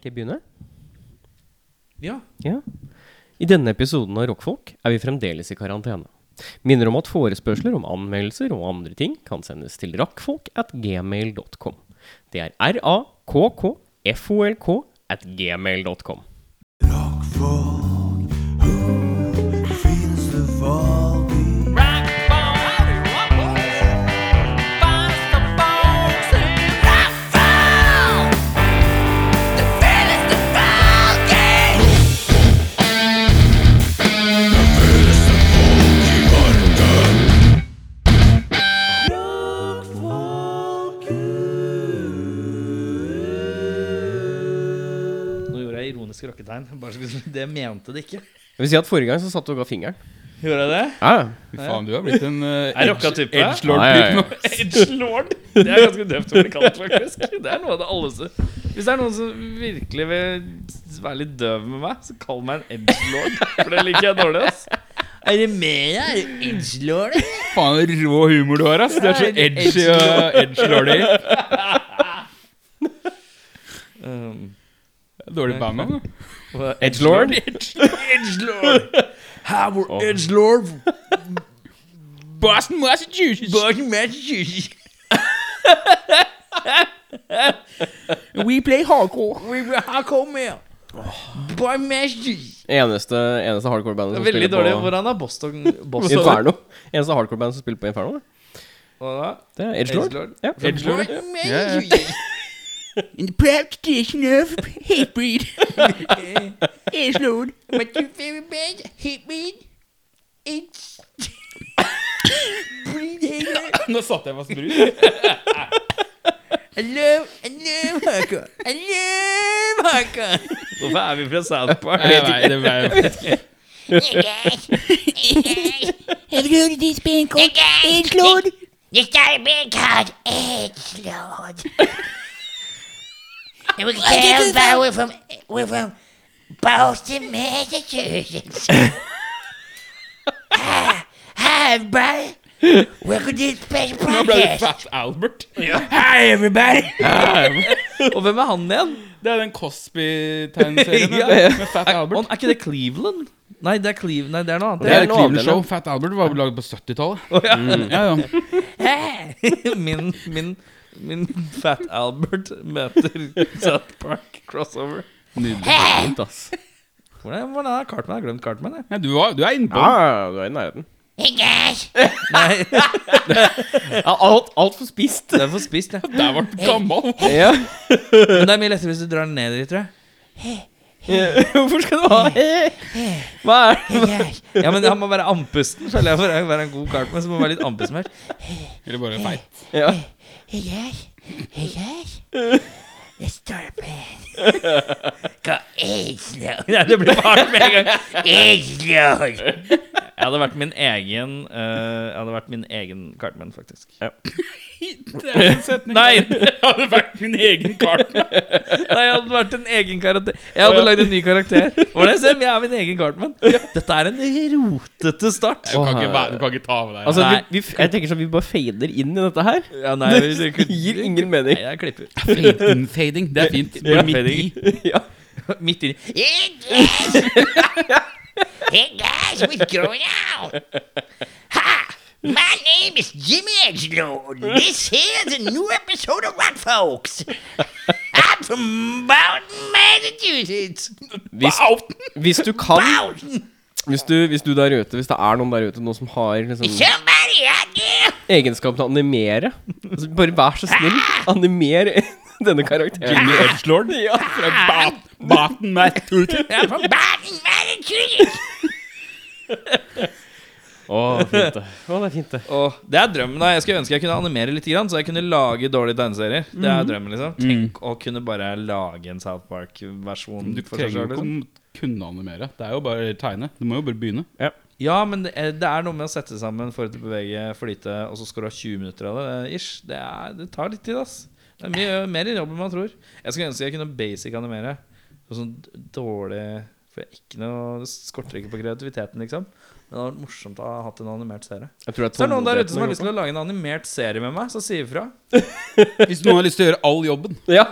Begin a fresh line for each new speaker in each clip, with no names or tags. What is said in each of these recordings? Skal jeg begynne?
Ja.
Ja. I denne episoden av Rockfolk er vi fremdeles i karantene. Minner om at forespørsler om anmeldelser og andre ting kan sendes til rakkfolk at gmail.com. Det er r-a-k-k-f-o-l-k at gmail.com.
Nå gjorde jeg ironiske rocketegn. Bare så vi- Det mente det ikke.
Jeg vil si at Forrige gang så satt du og ga fingeren.
Gjorde jeg det?
Ja, ja.
Fy faen, du har blitt en uh,
Jeg rocka type.
Ja, ja, ja.
edgelord-type nå.
Edgelord. Det er ganske døvt å bli kalt, faktisk. Det er noe av det alle som Hvis det er noen som virkelig vil være litt døv med meg, så kall meg en edgelord. For det liker jeg dårlig, ass. Er det med deg? Er du edgelord?
Faen, det er rå humor du har, ass. Du er så
Det er en
edgy og edgelordy.
Um,
Dårlig altså. bandnavn. da.
hva-
Edgelord?
Edgelord. Howard Edgelord.
Boston, Massachusetts.
Boston, Massachusetts.
We play hardcore.
We will have come here. By Massachusetts.
Eneste, eneste hardcore-bandet som
Veldig
spiller
dårlig.
på
Hvordan er Boston Boston?
Inferno. Eneste hardcore-bandet som spiller på Inferno,
Hva da?
det er Edgelord.
Edgelord?
Ja.
Edgelord. ja.
Ja,
In the practice of hate breed. Edgelord.
What's your favorite band? Hit me. It's I
Nå satte jeg fast brus.
love, I love hardcore. I love hardcore. Hvorfor er vi fra South Park?
Nei, nei, det var
Hey guys. Hey guys. Have you heard of this band called Edge Lord? This got a band called Edge Lord. and we can tell by we're from we're from Boston, Massachusetts. hi, hi everybody. Welcome to this special
Nå ble det
podcast.
Fat Albert. Hi, everybody.
Og hvem er han igjen?
Det er den Cosby-tegneserien
Ja.
da, med Fat
Og
Albert.
er ikke det Cleveland? Nei, det er Cleveland. Nei, det er noe annet.
Det er
er noe
Cleveland
annet,
Show.
eller?
Fat Albert var laget på 70-tallet. Ja, ja.
min, min, min Fat Albert møter South Park crossover.
Nydelig.
Hi,
Ass.
Hvordan, hvordan er Cartman? Jeg har glemt Cartman, jeg.
Ja, du, var, du er innpå.
Ja, ja, du er i nærheten.
hey guys.
Nei,
Ja, alt, alt for spist.
det er for spist, jeg.
Der ble du gammel.
Ja.
Men det er mye lettere hvis du drar den ned dit, tror jeg.
Hvorfor skal du ha Hva er det?
Hey guys.
Ja, men Han må være andpusten. skjønner jeg, for å være en god Cartman, så må han være litt andpusten først.
Eller bare feit.
Ja.
Hey guys. Hey guys. Let's start a band. Called Edge Lord.
Ja, det blir fart med en gang.
Edgelord.
Jeg hadde vært min egen eh, Jeg hadde vært min egen Cartman, faktisk.
Nei, det hadde vært min egen kart.
Nei, jeg hadde vært en egen karakter. Jeg hadde lagd en ny karakter. Var det Sem? Jeg er min egen Cartman. Dette er en rotete start.
Du kan ikke, være- du kan ikke ta med deg
Altså,
Nei.
vi, vi, jeg tenker sånn, vi bare fader inn i dette her.
Ja, nei, vi- vi
Det
kunne-
gir ingen mening.
Nei, jeg klipper.
Infading. Det er fint.
Ja,
Bare midt i.
Ja.
Midt inni.
Hey guys. hey guys, what's going on? Hi, my name is Jimmy Edgelord. This here's a new episode of Rock Folks. I'm from Bowden, Massachusetts. Oh,
Hvis, hvis du kan
Bowden.
hvis du, hvis du der ute Hvis det er noen der ute Noen som har liksom,
Somebody out there.
egenskap til å animere altså, Bare vær så snill Animer denne karakteren
Jimmy Edgelord
Ja.
fra Bat- Baten Massachusetts.
I'm from Bowden, Massachusetts.
Å, fint det Å, det er fint det
Åh, det er drømmen. da Jeg skulle ønske jeg kunne animere litt, grann, så jeg kunne lage dårlige tegneserier. Det er drømmen, liksom. Tenk å kunne bare lage en South Park-versjon
Du
for seg
trenger jo
selv,
ikke
Liksom.
å kunne animere. Det er jo bare tegne. Du må jo bare begynne.
Ja, men det er, det er noe med å sette sammen, forete, bevege, flyte, og så skal du ha 20 minutter av det. eh, Ish. Det, er, det tar litt tid, ass. Det er mye mer jobb enn man tror. Jeg skulle ønske jeg kunne basic animere. sånn Og Sånn dårlig For jeg er ikke noe Det skorter ikke på kreativiteten, liksom. Men det hadde vært morsomt å ha hatt en animert serie.
Jeg tror det
Så er det noen der ute som har lyst til å lage en animert serie med meg, så si ifra.
Hvis noen har lyst til å gjøre all jobben
ja.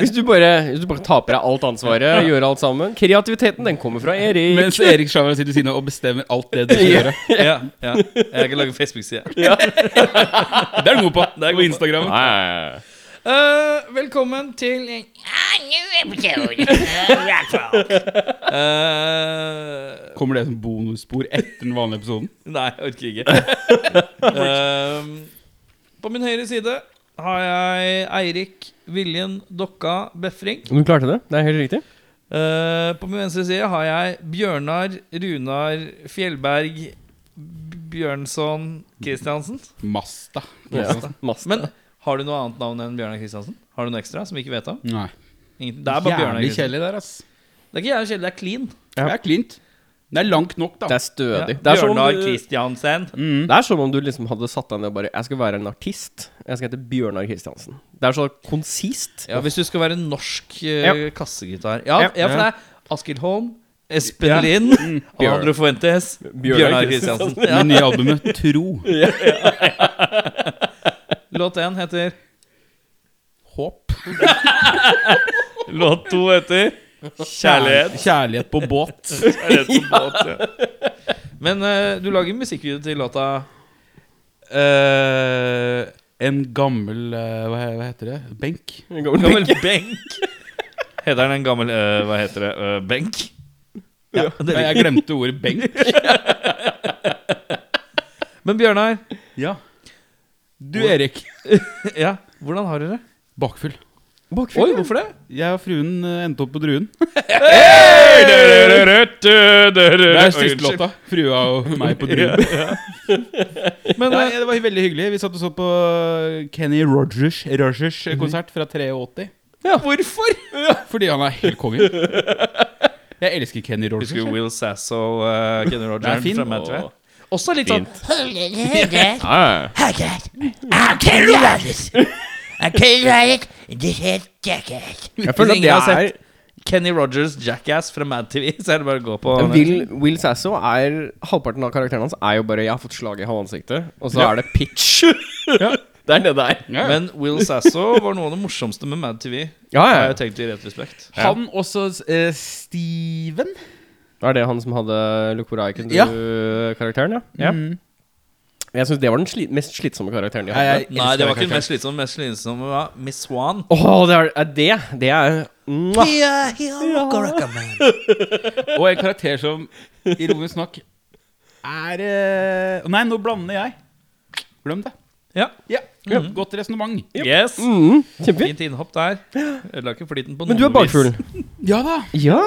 Hvis du bare, hvis du bare taper deg alt ansvaret, gjør alt sammen Kreativiteten, den kommer fra Erik.
Mens Erik Sjavra sitter ved siden av og bestemmer alt det du skal gjøre.
Ja, ja. Jeg kan lage Facebook-side.
Det er du god på. Det er god på Instagram.
Nei.
Eh, velkommen til eh,
A new episode of Rock Folk.
eh,
Kommer det som bonusspor etter den vanlige episoden?
Nei, jeg orker ikke. Eh, på min høyre side har jeg Eirik Viljen Dokka Befring.
Du klarte det. Det er helt riktig.
Eh, på min venstre side har jeg Bjørnar Runar Fjellberg B- Bjørnson Christiansen.
Masta.
Ja. Masse.
Men har du noe annet navn enn Bjørnar Christiansen? Har du noe ekstra som vi ikke vet om?
Nei.
Ingen, det er bare Bjørnar
Jævlig
Christiansen.
kjedelig der, ass.
Det er ikke jævlig kjedelig, det er clean.
Ja.
Det er klint. Det er langt nok, da.
Det er stødig.
Ja,
Det, er som om
Bjørnar
du,
Christiansen.
det er som om du liksom hadde satt deg ned og bare Jeg skal være en artist. Jeg skal hete Bjørnar Kristiansen. Det er så konsist.
Ja, hvis du skal være norsk eh,
Ja.
kassegitar. Ja,
Ja.
ja. for det er Askild Holm, Espen Lind,
Bjørn-
Alejandro Fuentes,
Bjørnar
Bjørnar Kristiansen.
Det nye albumet Tro.
Låt én heter
Håp.
Låt to heter Kjærlighet.
Kjærlighet på båt.
Men eh, du lager musikkvideo til låta
Eh, en gammel eh, hva, he- hva heter det? Benk.
Gammel benk. Heter den en gammel eh, Hva heter det? eh, benk? Ja, det
Nei,
er
jeg glemte ordet benk.
Men Bjørnar,
Ja. Du, Erik.
ja, hvordan har dere det?
Bakfull.
Bakfyr.
Oi, hvorfor det?
Jeg og fruen eh, endte opp på Druen. Det
Det
er siste låta. Frua og meg på Druen.
Men
Nei,
eh,
det var veldig hyggelig. Vi satt og så på Kenny Rogers, Rogers konsert fra 83.
hvorfor?
Fordi han er helt konge. Jeg elsker Kenny Rogers.
Husker
jeg.
Will Sasso og uh, Kenny
Det er
Roger
fint.
fra Mad Men. Også litt sånn
Hold it, hold it. Hold it. I'll tell you about this. I'll tell you about it in this here jacket.
Jeg føler
Ingen har
at det er
Kenny Rogers Jackass fra Mad TV. Så er det bare å gå på
Will, Will Sasso er Halvparten av karakteren hans er jo bare 'jeg har fått slag i halvansiktet', og så er det pitch. Det er det det er.
Ja, ja.
Men Will Sasso var noe av det morsomste med Mad TV.
Ja,
Har
ja.
jeg tenkt i rett respekt.
Han også eh, Steven.
Er det han som hadde
Ja.
Lokoraiken-karakteren, ja? ja. Jeg syns det var den sli mest slitsomme karakteren de
Nei,
hadde.
jeg
Nei, det var ikke
elsker
den mest slitsomme. Mest slitsomme var Miss Swan.
Åh, det er, er det Det er Mwah.
Yeah, he'll rock a man.
karakteren. Og en karakter som, ironisk nok, er eh, Nei, nå blander jeg. Glem det. Mhm.
Ja.
Ja, Godt resonnement.
Yes.
Mm, Kjempefint.
Fint innhopp der. Ødela ikke flyten på noen
Men du er bakfull.
Ja da.
Ja.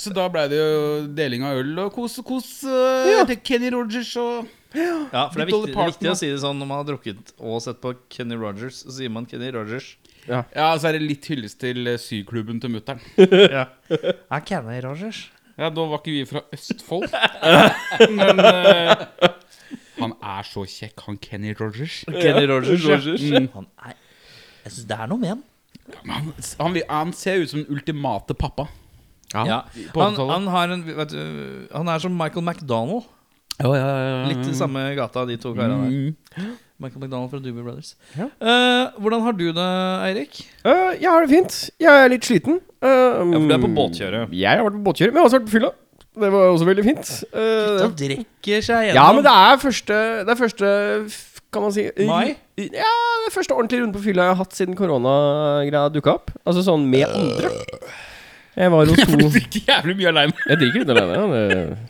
Så da blei det jo deling av øl og kos og kos.
Ja.
eh, til Kenny Rogers og
Ja, for det er
Litt
viktig, det
Dolly
er viktig
Parton, da.
å si det sånn når man har drukket og sett på Kenny Rogers. Så sier man Kenny Rogers.
Ja, så er det litt hyllest til eh, syklubben til mutter'n.
Ja. Er Kenny Rogers?
Ja, da var ikke vi fra Østfold. Men eh, han er så kjekk, han Kenny Rogers.
Kenny Rogers, ja.
Mm.
Han er, jeg synes det er noe med han.
Han, han, vil- han ser ut som den ultimate pappa.
Ja.
på
Han,
80-tallet.
han, har en, vet du, han er som Michael McDonald.
Mm,
Litt i samme gata, de to karene. der.
Mm.
Michael McDonald fra Doobie Brothers.
Ja.
Eh, hvordan har du det, Eirik?
Øh, jeg har det fint. Jeg er litt sliten. Øh,
Ja, for du er på båtkjøret.
Jeg har vært på båtkjøret, men jeg har også vært på fylla. Det var også veldig fint. Øh,
Han drikker seg
ja,
gjennom.
men det er første Det er første f- kan man si øh,
Mai?
Ja, det er første ordentlige runde på fylla jeg har hatt siden koronagreia dukka opp. Altså sånn med andre. Jeg var hos to
Drikker jævlig mye aleine.
Jeg drikker litt alene.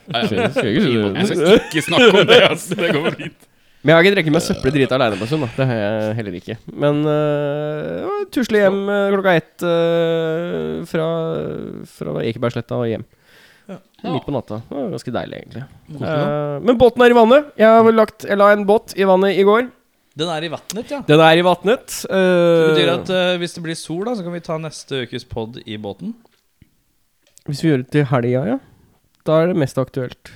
Det skal- skal ikke
Jeg skal ikke snakke om det, ass. Det går fint.
Men jeg har ikke drukket meg søppel drita aleine på en stund. da. Det har jeg heller ikke. Men øh, jeg tusle hjem øh, klokka ett øh, fra, fra Ekebergsletta og hjem. Midt på natta. Det var ganske deilig, egentlig. Eh, men båten er i vannet. Jeg, har vel lagt, jeg la en båt i vannet i går.
Den er i vannet, ja.
Den er i vatnet.
Det
eh,
betyr at eh, hvis det blir sol, da, så kan vi ta neste ukes pod i båten.
Hvis vi gjør det til helga, ja. Da er det mest aktuelt.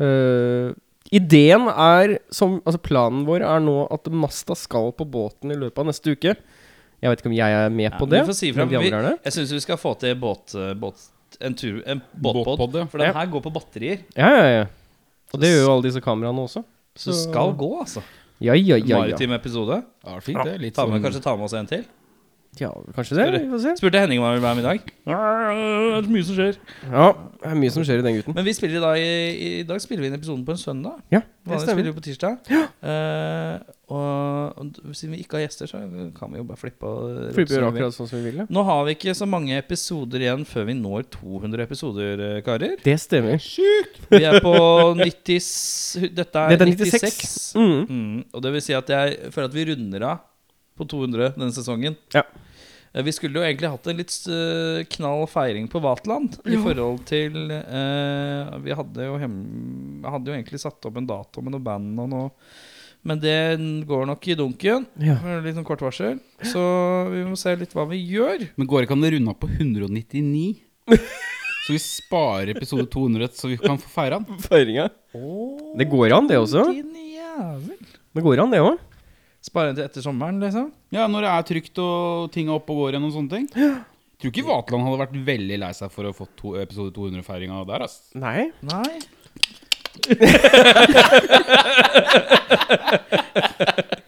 Eh, ideen er som, Altså planen vår er nå at Masta skal på båten i løpet av neste uke. Jeg vet ikke om jeg er med på
men
det.
vi får si
men
frem.
de andre
Vi-
er det.
Jeg syns vi skal få til eh, båt, båt, en, tur, en båtpod.
Båtpod, ja.
For den
Ja.
her går på batterier.
Ja, ja, ja. Og det gjør jo alle disse kameraene også.
Så det skal gå, altså.
Ja, ja, ja. ja.
Maritim episode.
Ja, fint, det. Litt
Ta med,
sånn
kanskje ta med oss en til?
ja kanskje det. Vi får se.
Spurte Henning om han ville være med i dag. Det er så mye som skjer.
Ja, det er mye som skjer i den gutten.
Men vi spiller i dag i, I dag spiller vi inn episoden på en søndag.
Ja, det
Vanligvis spiller
stemmer.
vi på tirsdag. Eh, og, og d- siden vi ikke har gjester, så kan vi jo bare flippe og
Flipper gjør
rotse
akkurat sånn som vi vil, ja.
Nå har vi ikke så mange episoder igjen før vi når 200 episoder, eh, karer.
Det stemmer.
Vi er på 90 s- Dette er,
Dette er
96.
96. Mm.
Mm, og det vil si at jeg føler at vi runder av på 200 denne sesongen.
Ja.
Eh, Vi skulle jo egentlig hatt en litt eh, knall feiring på Vatland i forhold til eh, Vi hadde jo, hem, hadde jo egentlig satt opp en dato med noe band og noe Men det går nok i dunken.
Ja.
med Litt sånn kort varsel. Så vi må se litt hva vi gjør.
Men går det ikke an å runde opp på 199? Så vi sparer episode 200, så vi kan få feire den?
Feiringa. Det går an, det også.
Din jævel.
Det går an, det òg.
Spare den til etter sommeren, liksom?
Ja, når det er trygt og ting er oppe og går igjen og sånne ting. Tror ikke Vatland hadde vært veldig lei seg for å få to, episode 200-feiringa der, ass.
Nei.
Nei.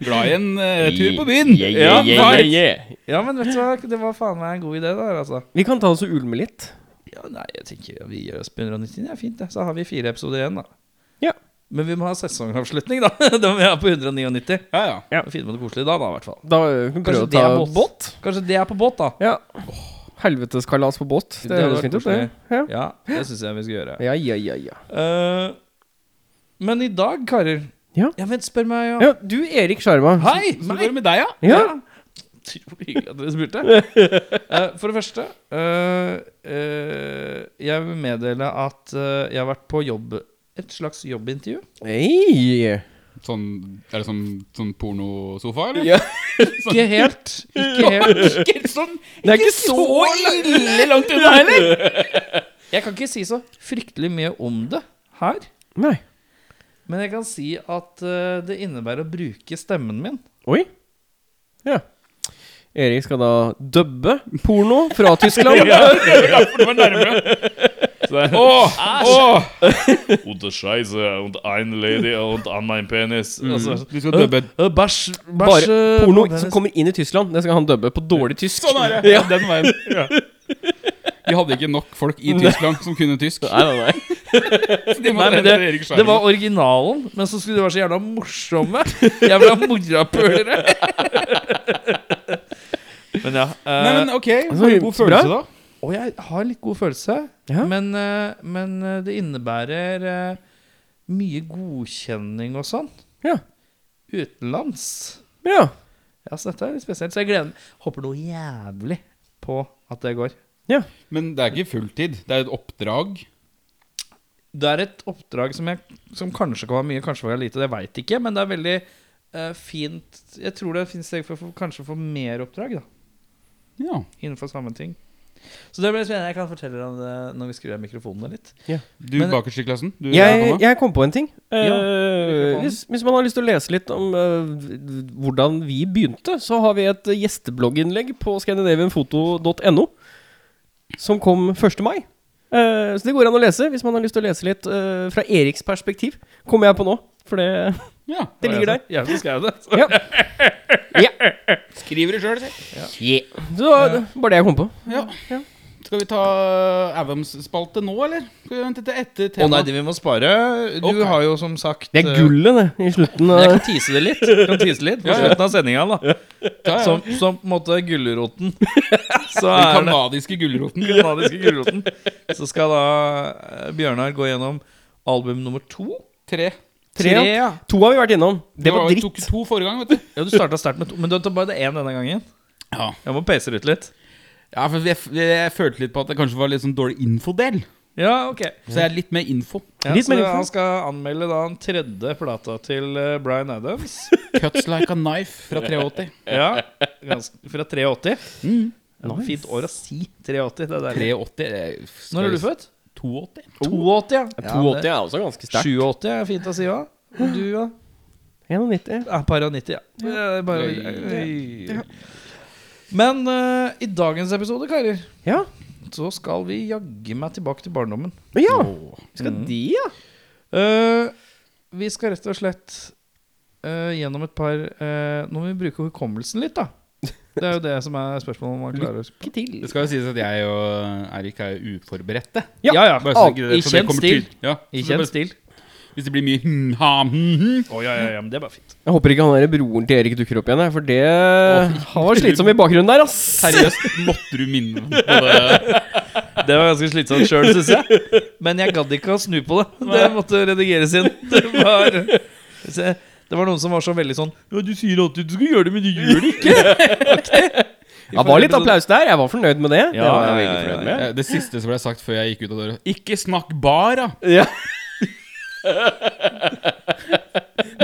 Glad i en eh, tur på byen.
Ja, nei.
Ja, men vet du hva, det var faen meg en god idé der, altså.
Vi kan ta oss og ulme litt.
Ja, nei, jeg tenker vi gjør oss på 199, det er fint det. Så har vi fire episoder igjen, da.
Ja.
Men vi må ha sesongavslutning, da. Da må vi ha på 199.
Ja, ja.
Ja.
Finne på noe koselig da, da, i hvert fall.
Da ø, kan vi prøve
Kanskje
å
det
ta
er båt? Kanskje det er på båt, da.
Ja. Helveteskalas på båt. Det,
Det hadde
høres
vært
fint ut, det. Ja.
Ja, det syns jeg vi skal gjøre.
Ja, ja, ja, ja.
Eh, men i dag, karer
Ja.
vet, spør meg ja.
ja du, Erik Sjarma.
Hei!
Så
meg.
går det med deg, ja?
Ja.
Utrolig hyggelig at dere spurte. Eh, for det første eh, eh, Jeg vil meddele at eh, jeg har vært på jobb et slags jobbintervju.
Hei.
Sånn, er det sånn, sånn pornosofa, eller?
Ja.
Ikke helt. Ikke helt.
Ikke sånn
Det er ikke så
ille langt unna heller!
Jeg kan ikke si så fryktelig mye om det her.
Nei.
Men jeg kan si at eh, det innebærer å bruke stemmen min.
Oi. Ja. Erik skal da dubbe porno fra Tyskland.
Åh, åh.
Und Scheiße und uh, ein Lady und an mein Penis.
Altså,
Du skal dubbe
bæsj eh,
Bare porno som kommer inn i Tyskland. Det skal han dubbe på dårlig tysk.
Sånn er det. Den veien. Vi hadde ikke nok folk i Tyskland som kunne tysk.
Nei, nei, nei.
Det
Nei, men det, det var originalen, men så skulle de være så jævla morsomme. Jævla morapulere. men ja. eh,
Nei, men ok,
så
har du god
bra.
følelse da?
og jeg har litt god følelse,
Ja.
men, eh, men eh, det innebærer eh, mye godkjenning og sånn.
Ja.
Utenlands.
Ja.
Ja, så dette er litt spesielt. Så jeg gleder meg. Håper noe jævlig på at det går.
Men det er ikke fulltid, det er et oppdrag.
Det er et oppdrag som, jeg, som kanskje kan være mye, kanskje kan være lite, det veit ikke. Men det er veldig eh, fint Jeg tror det finnes steg for å få- kanskje å få mer oppdrag da
Ja.
innenfor samme ting. Så det blir spennende. Jeg kan fortelle deg om det når vi skrur av mikrofonene litt.
Du
Men-
bakerst i klassen? Du,
Jeg,
Anna?
jeg kom på en ting. Eh,
Ja,
hvis, hvis man har lyst til å lese litt om eh, hvordan vi begynte, så har vi et gjesteblogginnlegg på scandinavianfoto.no som kom 1. mai. Eh, så det går an å lese hvis man har lyst til å lese litt eh, fra Eriks perspektiv. Kommer jeg på nå, for det,
ja.
det ligger der.
Jeg som skrev det.
Ja.
Skriver du sjøl, si.
Så det var bare det jeg kom på.
Ja. Skal vi ta Adams-spalte nå, eller? Skal vi vente til etter
Å nei,
temaet?
det vi må spare. Du
Ok.
har jo som sagt
Det er gullet, det, i slutten.
eh, Jeg
av-
kan tease det litt. Jeg Kan tease litt På
Ja, ja.
slutten av sendinga, da.
Ja, ja.
Som, som på en måte gulroten. Så
Den
er det
kanadiske gulroten.
den kanadiske gulroten. Så skal da eh, Bjørnar gå gjennom album nummer to.
Tre.
Tre, ja.
ja.
To har vi vært innom. Det var
Tok
dritt.
to forrige gang, vet du.
Ja, Du starta sterkt med to, men du tar bare det én denne gangen.
Ja.
Jeg må pace det ut litt.
Ja, for jeg, jeg følte litt på at det kanskje var litt sånn dårlig infodel.
Ja, ok
Så jeg er litt mer info.
ja,
Litt
så
mer info.
Han skal anmelde da den tredje plata til eh, Bryan Adams.
Cuts like a knife fra 83.
Ja, ganske, Fra 83.
Mm.
Nice. Fint år å si 83. Det er deilig.
83 eh, skal
Når er
vi-
du født?
82.
82, ja.
Ja, er også ganske
det- 87 er fint å si òg. Du ja.
91.
er par og 90, ja. Det er Bare,
Oi.
Oi. Men eh, i dagens episode, karer,
Ja.
så skal vi jaggu meg tilbake til barndommen. Mm.
Ja,
Åh.
skal de, ja?
Eh, vi skal rett og slett eh, gjennom et par eh, Nå må vi bruke hukommelsen litt, da. Det er jo det som er spørsmålet. om man klarer å huske på.
Det skal jo sies at jeg og Eirik er jo uforberedte.
Ja,
ja, ja.
Bare så
Al-
ikke det-
I
for det
kjent
kommer
stil.
tydelig-
I
Ja, så det
kjent
bare-
stil.
Hvis det blir mye hm, ha, hm, hm.
Å, ja, ja, ja, men det er bare fint.
Jeg håper ikke han der broren til Erik dukker opp igjen, jeg, for det har vært slitsom i bakgrunnen der, ass.
Seriøst, måtte du minne meg på det?
Det var ganske slitsomt sjøl, syns jeg. Men jeg gadd ikke å snu på det. Det måtte redigeres inn. Det var, se, det var noen som var så veldig sånn Ja, du sier alltid du skal gjøre det, men du gjør det ikke.
Det var litt applaus der. Jeg var fornøyd med det. det
Ja,
var jeg
ja,
veldig
ja,
fornøyd
ja,
med.
Eh, Det siste som ble sagt før jeg gikk ut av døra Ikke snakk bar, da!
Ja.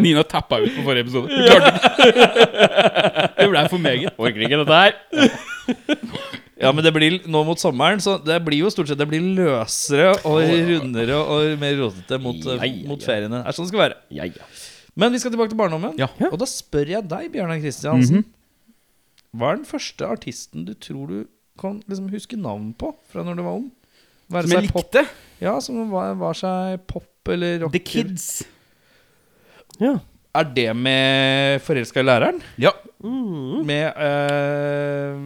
Nina tappa ut på forrige episode. Hun klarte ikke. Det ble for meget.
Orker ikke dette her.
Ja, men det blir nå mot sommeren, så det blir jo stort sett Det blir løsere og rundere og mer rotete mot,
Ja, ja,
mot
ja.
feriene. Det er sånn det skal være.
Ja, ja.
Men vi skal tilbake til barndommen.
Ja.
Og da spør jeg deg, Bjørnar Kristiansen. Hva er den første artisten du tror du kan liksom huske navn på fra når du var ung? Være
Som jeg
seg pop-
likte.
Ja, som var, var seg pop eller rock.
The Kids.
Ja.
Er det med 'Forelska i læreren'?
Ja.
Mm.
Med eh,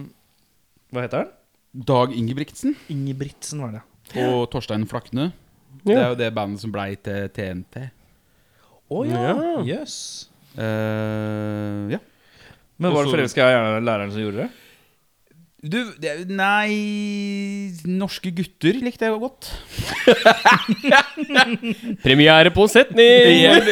Hva heter han?
Dag Ingebrigtsen
Ingebrigtsen, var det.
og Torstein Flakne. Det er
Ja.
jo det bandet som blei til TNT.
Å ja. Jøss. Yes.
Eh, ja.
Men var det
Også-
'Forelska i læreren' som gjorde det?
Du, det, nei Norske gutter likte jeg godt.
Premiere på setning!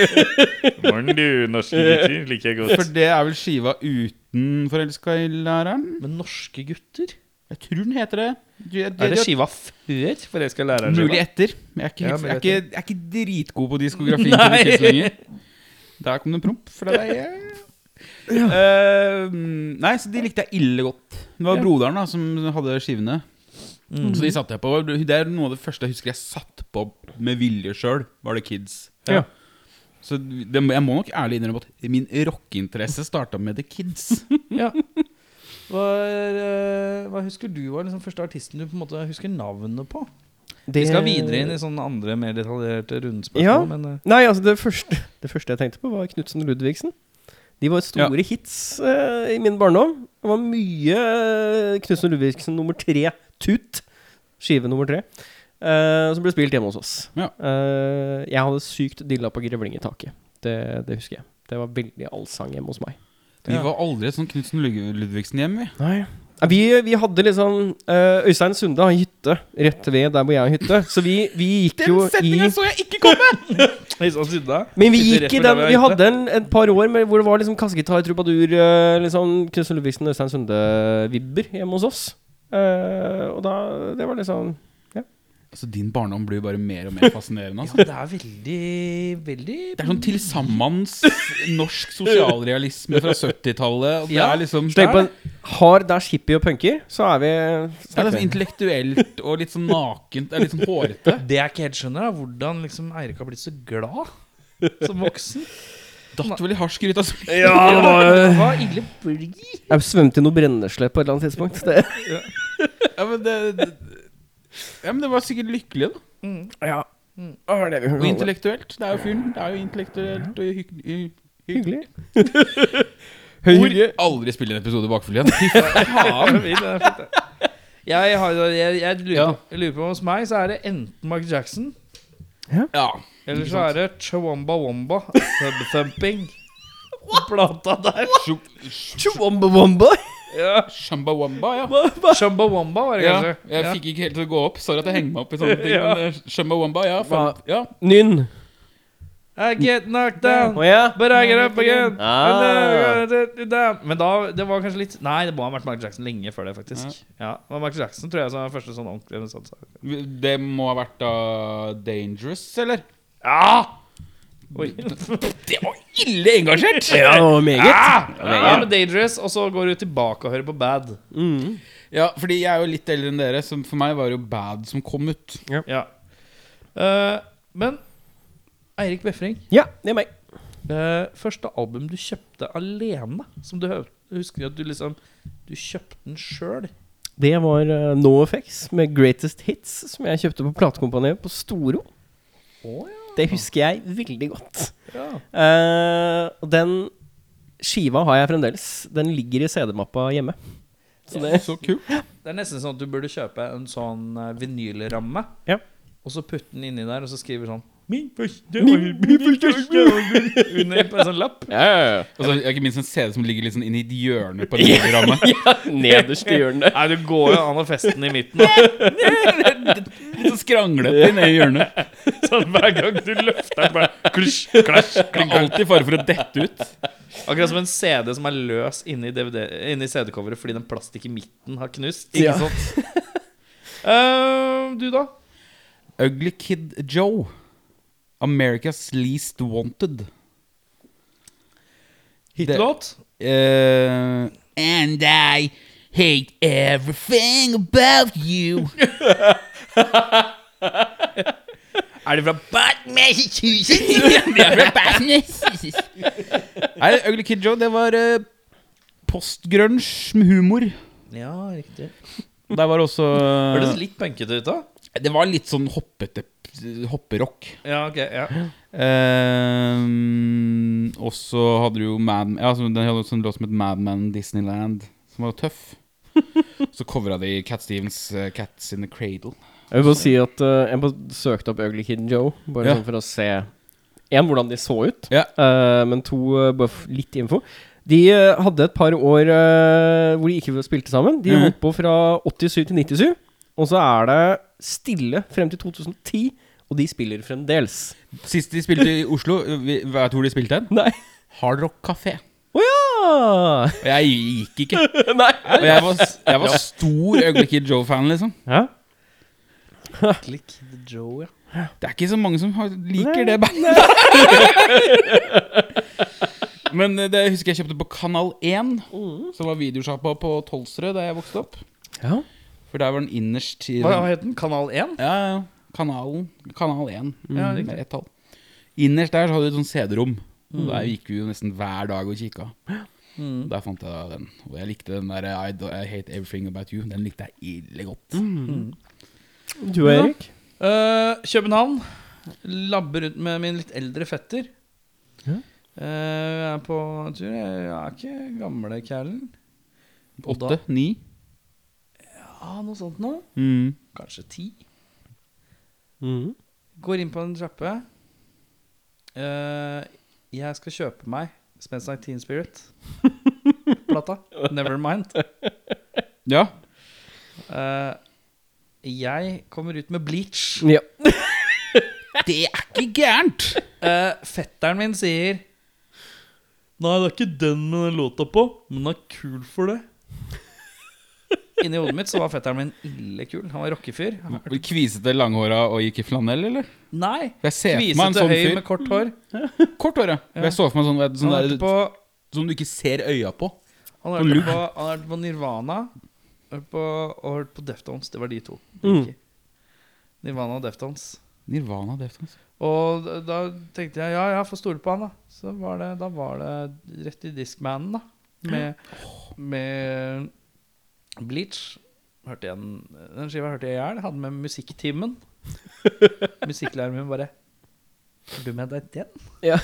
Morn, du, norske gutter. Liker jeg
For
godt.
det er vel skiva uten 'Forelska i læreren'?
Men norske gutter?
Jeg tror den heter det. Du, jeg-
Er det
jeg-
skiva før 'Forelska i læreren'?
Mulig etter. Jeg er
Ja,
ikke, helt, jeg
mulig
er ikke, jeg er ikke dritgod på diskografi. til The Kids lenger. Der kom det en promp fra deg. Eh, nei, så de likte jeg ille godt. Det var broderen da som hadde skivene. Så de satte jeg på. Det er noe av det første jeg husker jeg satt på med vilje sjøl, var det Kids.
Ja.
Så det, jeg må nok ærlig innrømme at min rockeinteresse starta med The Kids.
Ja. Hva, er, eh, hva husker du var liksom første artisten du på en måte husker navnet på? Vi skal videre inn i sånne andre, mer detaljerte rundespørsmål.
Ja.
Men eh,
Nei, altså det første, det første jeg tenkte på, var Knutsen og Ludvigsen. De var store hits eh, i min barndom. Det var mye eh, Knutsen og Ludvigsen nummer tre, Tut. Skive nummer tre. eh, som ble spilt hjemme hos oss.
Ja.
Eh, jeg hadde sykt dilla på grevling i taket. Det, det husker jeg. Det var veldig allsang hjemme hos meg.
Vi var aldri et sånn Knutsen Ludvigsen-hjem, vi.
Nei. Vi, vi hadde liksom eh, Øystein Sunde har hytte rett ved der hvor jeg har hytte. Så vi, vi gikk jo i
så jeg ikke komme!
Øystein Sunde
Men vi
sånn sitter
gikk i
rett
den
ved der
Vi
er ute.
hadde en, et par år med, hvor det var liksom kassegitar, trubadur, eh, liksom Knutsen Ludvigsen og Øystein Sunde-vibber hjemme hos oss. Eh, og da Det var liksom
Altså, din barndom blir jo bare mer og mer fascinerende. Altså.
Ja, det er veldig, veldig
Det er sånn til sammens norsk sosialrealisme fra 70-tallet. og Det
Ja.
er liksom
Hvis du tenker på en hard dash hippie og punker, så er vi
det er liksom intellektuelt og litt sånn nakent. Det er litt sånn hårete.
Det jeg ikke helt skjønner, er hvordan liksom Eirik har blitt så glad som voksen.
Datt vel i harsk gryte. Altså.
Ja, det var ille blid.
Jeg svømte i noe brennesle på et eller annet tidspunkt. Det.
Ja, men det, det, ja, men det var sikkert lykkelig, da.
Ja. Det var det vi
Og intellektuelt. Det er jo fyren. Det er jo intellektuelt og hygg- hy- hyggelig.
Hyggelig. Høyhyggelig.
Hvor aldri spille en episode bakfull igjen. Fy faen.
Det er fint, det. Jeg, har, jeg, jeg, lurer
Ja.
på, jeg lurer på Hos meg så er det enten Mark Jackson
Ja.
Eller så er det Chawamba Wamba Thumb Thumping. Plata der.
Chewomba womba.
Ja.
Shambawamba, ja.
Chumba Wamba var det
ja.
kanskje.
Jeg fikk ikke helt til å gå opp. Sorry at jeg henger meg opp i sånne ting.
Ja.
Men eh, Shambawamba, ja. Faen. Ja.
Nynn.
I get knocked down,
Å ja.
but I get up again.
Ah.
And then I get it down. Men da, det var kanskje litt Nei, det må ha vært Michael Jackson lenge før det, faktisk. Ja, det var Michael Jackson tror jeg som var første sånn ordentlig sånn, så.
Det må ha vært da Dangerous, eller?
Oi.
Det var ille engasjert!
Ja, det var meget.
Ja, men Dangerous, og så går du tilbake og hører på Bad.
Mm.
Ja, fordi jeg er jo litt eldre enn dere, så for meg var det jo Bad som kom ut.
Ja. Eh, men Eirik Befring,
Ja, det er meg.
eh, første album du kjøpte alene, som du hø- husker at du liksom Du kjøpte den sjøl.
Det var eh, NoFX med Greatest Hits, som jeg kjøpte på platekompaniet på Storo.
Å ja.
Det husker jeg veldig godt.
Ja.
Eh, og den skiva har jeg fremdeles. Den ligger i CD-mappa hjemme. Så det
Så kult.
Det er nesten sånn at du burde kjøpe en sånn eh, vinylramme,
Ja.
og så putte den inni der, og så skriver sånn Min første album Under på en sånn lapp.
ja, ja, ja.
Og så Altså, ikke minst en CD som ligger litt sånn inn i et hjørne på en ramme.
Nederst i hjørnet.
Nei, det går jo an å feste den i midten. da.
Litt sånn skranglete i det hjørnet.
altså.
Sånn hver gang du løfter den, bare klisj, klasj,
Det er alltid fare for å dette ut.
Akkurat som en CD som er løs inni, DVD inni CD-coveret fordi den plastikk i midten har knust.
Ja.
Ikke sant? Eh, du, da?
Ugly Kid Joe. America's Least Wanted.
Hitlåt?
Eh, And I hate everything about you.
Er det fra
But Massachusetts.
Nei, Ugly Kid Joe, det var eh, postgrunge med humor.
Ja, riktig.
Der var det også
Hørtes litt punkete ut, da.
Det var litt sånn hoppete hopperock.
Ja, ok, ja
Ehm, Eh, og så hadde du jo Mad ja, så Den hadde også en låt som het Madman Disneyland, som var tøff. Så covra de Cat Stevens eh, 'Cats In The Cradle'.
Jeg vil bare si at eh, jeg bare søkte opp Ugly Kid Joe, bare
Ja.
sånn for å se En, hvordan de så ut,
Ja.
eh, men to, eh, bare f- litt info. De eh, hadde et par år eh, hvor de ikke spilte sammen. De
Mhm.
holdt på fra 87 til 97, og så er det stille frem til 2010, og de spiller fremdeles.
Sist de spilte i Oslo, eh, vi- vet du hvor de spilte hen?
Nei.
Hard Rock Café.
Å ja!
Og jeg gikk ikke.
Nei.
Og jeg var, jeg var stor Ugly Kid Joe-fan, liksom.
Ja.
Klikk Joe, ja.
Det er ikke så mange som har-
Nei.
liker det bandet. Men eh, det husker jeg kjøpte på Kanal 1, som var videosjappa på Tolsrød da jeg vokste opp.
Mm. ja.
For der var den innerst i
Hva het den? Kanal 1?
Ja, ja. Kanalen. Kanal 1.
Ja,
Mm.
med
riktig.
ett tall. Innerst der så hadde vi et sånt CD-rom. Og Der gikk vi jo nesten hver dag og kikka.
Mm.
Der fant jeg da den. Og jeg likte den der I, do- I Hate Everything About You. Den likte jeg ille godt.
Mm.
Du og Erik?
Eh, København. Labber rundt med min litt eldre fetter.
Ja.
Eh, jeg er på tur. Jeg er ikke gamle kjælen.
Åtte? Ni?
Ja, noe sånt nå
Mm.
Kanskje ti.
Mhm.
Går inn på en trappe. Eh, jeg skal kjøpe meg Spence Like Teen Spirit-plata. Nevermind.
Ja.
Eh, jeg kommer ut med bleach.
Ja.
Det er ikke gærent!
Eh, fetteren min sier Nei, det er ikke den med den låta på, men den er kul for det. Inni hodet mitt så var fetteren min ille kul. Han var rockefyr. Han-
Kvisete, langhåra og gikk i flanell, eller?
Nei!
For Jeg ser for meg en
Kvisete
sånn
høy med
fyr.
kort hår.
Kort hår, ja. For Jeg så for meg sånn, vet du,
Han
sånn
har
der,
vært på,
som du ikke ser øya på.
han har
på
vært
lugg.
på, han har vært på Nirvana vært på, og hørt på Deftones. Det var de to.
Mm.
Nirvana og Deftones.
Nirvana Deftones.
Og da- da tenkte jeg ja, jeg får stole på han, da. Så var det, da var det rett i Discmanen, da. Med, med Bleach. Hørte jeg den, den skiva hørte jeg i hjel. Hadde med musikktimen. Musikklæreren min bare Har du med deg den?
Ja.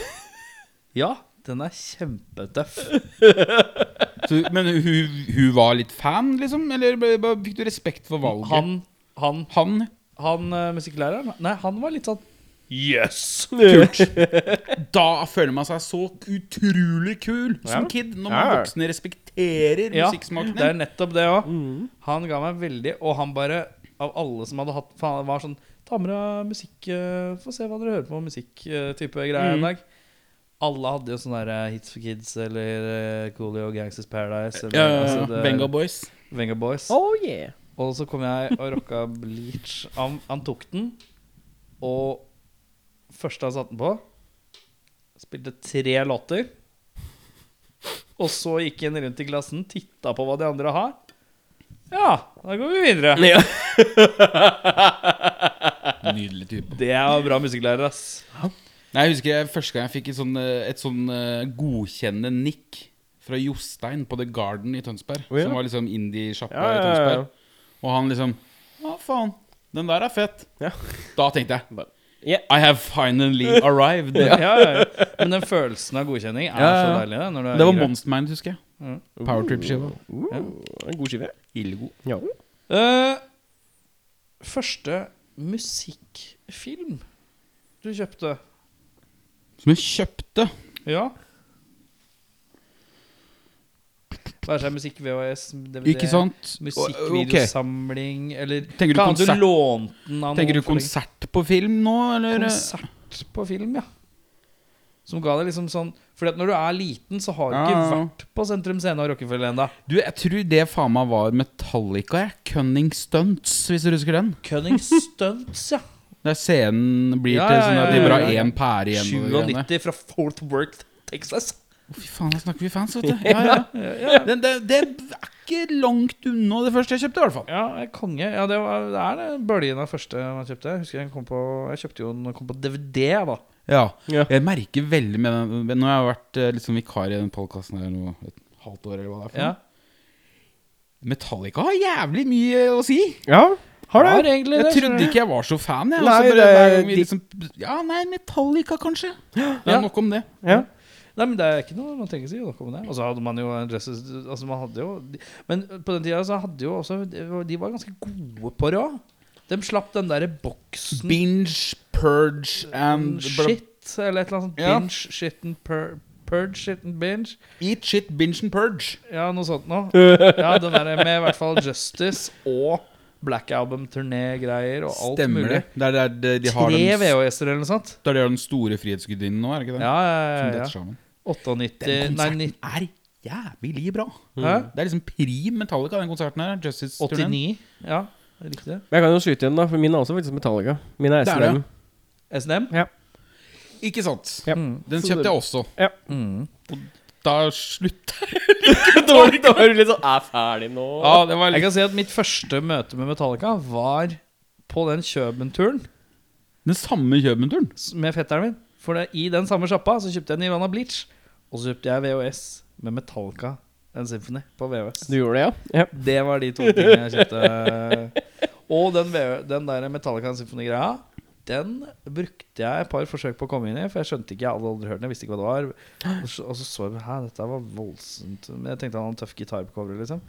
ja, den er kjempetøff.
Så, men hun, hun var litt fan, liksom? Eller ble- bare fikk du respekt for valget?
Han, han,
Han
han eh, musikklæreren Nei, han var litt sånn
Yes!
Da føler man seg så utrolig kul som
Ja.
kid, når
Ja.
man voksne respekterer
Ja,
musikksmaken
Det er
din.
nettopp det òg.
Mhm.
Han ga meg veldig Og han bare, av alle som hadde hatt for Han var sånn Ta med deg musikk eh, Få se hva dere hører på musikk-type greier
Mm.
en dag. Alle hadde jo sånne der, eh, Hits for Kids eller eh, Coolio Gangsters Paradise. Eller,
Ja, ja, ja.
altså, det-
Venga Boys.
Venga Boys.
Oh yeah.
Og så kom jeg og rocka Bleach. Han, han tok den, og første han satte den på Spilte tre låter. Og så gikk han rundt i klassen, titta på hva de andre har. Ja, da går vi videre.
Ja.
Nydelig type.
Det er jo bra musikklærer, ass.
Nei, jeg husker jeg, første gang jeg fikk et sånn, eh, et sånn eh, godkjennende nikk fra Jostein på The Garden i Tønsberg.
Å, ja.
Som var liksom indie-sjappa
Ja, ja,
i
ja, ja.
Tønsberg. Og han liksom Å, faen. Den der er fett.
Ja.
Da tenkte jeg
Bare, Ja.
I have finally arrived.
Ja, ja, ja. Men den følelsen av godkjenning er
Ja, ja,
så
ja.
deilig. da, Når du er
Det var
grei.
Monster Man, husker jeg.
Mm.
Powertrip-skiva.
Oh,
Uh, god skive.
Ildgod.
Ja.
Eh, Første musikkfilm du kjøpte?
Som jeg kjøpte.
Ja. Være seg musikk, VHS, DVD
Ikke sant? Ok.
Musikkvideosamling eller
Tenker du
Kan hende
konsert-
du lånte den av noen
Tenker du
for lenge-
konsert på film nå, eller?
Konsert på film, ja. Som ga deg liksom sånn Fordi at når du er liten, så har du ikke
Ja, ja, ja.
vært på Sentrum Scene og Rockefeller ennå.
Du, jeg tror det faen meg var Metallica, jeg. Cunning Stunts, hvis du husker den.
Cunning Stunts, ja.
Der scenen blir
Ja,
til
ja,
sånn at
ja,
de
ja,
bare har
ja.
én pære igjen. og det greiene.
97 fra Fort Worth, Texas.
Å, Fy faen, da snakker vi fans, vet du. Ja, ja. Det, det, det er ikke langt unna det første jeg kjøpte, i hvert fall.
Ja, eh, konge. Ja, det, var, det er den bølgen av første man kjøpte. Jeg husker jeg kom på Jeg kjøpte jo den kom på DVD, da.
Ja.
Ja.
Jeg merker veldig med den Nå har jeg vært eh, litt sånn vikar i den podkasten her nå et halvt år, eller hva det er. for
Ja.
noe. Metallica har jævlig mye å si.
ja. Har
Har
det.
egentlig
Jeg
det. sånn-
trodde ikke jeg var så fan, jeg. og
Nei,
så bare
det-
hver gang vi
de-
liksom, ja, nei, Metallica, kanskje. Ja,
Ja.
Nok om det.
Ja.
Nei, men det er ikke noe man trenger å si noe om det. Og så hadde man jo en dresses Altså, man hadde jo Men på den tida så hadde jo også De var ganske gode på det òg. De slapp den derre boksen
Binge, purge and
shit, eller et eller annet sånt.
Ja.
Binge, shit and pur purge, shit and binge.
Eat shit, binge and purge.
Ja, noe sånt noe. Ja, den der med i hvert fall Justice og Black Album-turné-greier og alt
Stemmer
mulig.
det. Det er der de- de har
Tre
den, det
VHS-er eller noe sånt.
er der den store frihetsgudinnen nå, er det ikke det?
Ja,
Som
ja, ja.
detter
ja.
sammen.
98
Den
Nei,
konserten
90,
er jævlig bra.
hæ?
Det er liksom prim Metallica, den konserten her. Justice
89. Ja, riktig.
Jeg kan jo skyte igjen, da, for min er også faktisk Metallica. Min er
Det er det.
SNM.
SNM?
Ikke sant?
Ja.
Den
Så
kjøpte
det-
jeg også. Mm.
Ja.
Da slutta
det var da var du litt sånn Er ferdig nå?
Ja, det var
Jeg
litt
kan si at mitt første møte med Metallica var på den Kjøben-turen
Den samme Kjøben-turen.
s- med fetteren min. For det, i den samme sjappa så kjøpte jeg Nirvana Bleach, og så kjøpte jeg VHS med Metallica and Symphony på VHS.
Du gjorde det, ja? ja.
Det var de to tingene jeg kjøpte. Og den, VH den der Metallica and Symphony-greia, den brukte jeg et par forsøk på å komme inn i, for jeg skjønte ikke, jeg hadde aldri hørt den, jeg visste ikke hva det var. Og så, og så så jeg Hæ, dette var voldsomt. Men jeg tenkte han hadde en tøff gitar på coveret, liksom.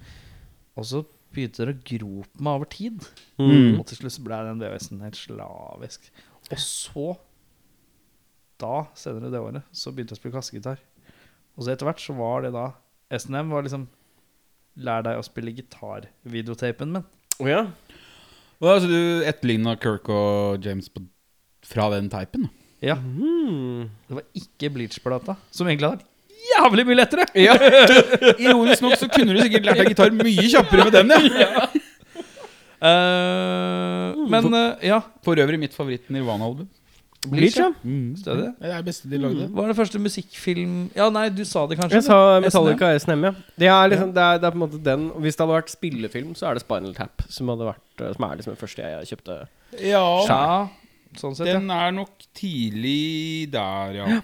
Og så begynte det å gro på meg over tid. Og til slutt så ble den VHS-en helt slavisk. Og så, da, senere det året, så begynte jeg å spille kassegitar. Og så etter hvert så var det da SNM var liksom Lær deg å spille gitar-videotapen min.
Å ja.
Og altså, du etterligna Kirk og James på, fra den teipen. da.
Ja,
Mm.
Det var ikke Bleach-plata, som egentlig hadde vært jævlig mye lettere!
Ironisk nok så kunne du sikkert lært deg gitar mye kjappere med den. ja
Eh, men eh, ja,
For øvrig mitt favoritt Nirvana-album.
Bleach, ja.
stødig. det.
Det er det beste de lagde.
Mm.
Hva er den første musikkfilm Ja, nei, du sa det kanskje?
Jeg sa
eller?
Metallica SNM, ja. Det er, liksom, det, er, det er på en måte den og Hvis det hadde vært spillefilm, så er det Spinal Tap som, hadde vært, eh, som er liksom den første jeg kjøpte.
Ja,
Ja, sånn sett, ja.
den er nok tidlig der, ja.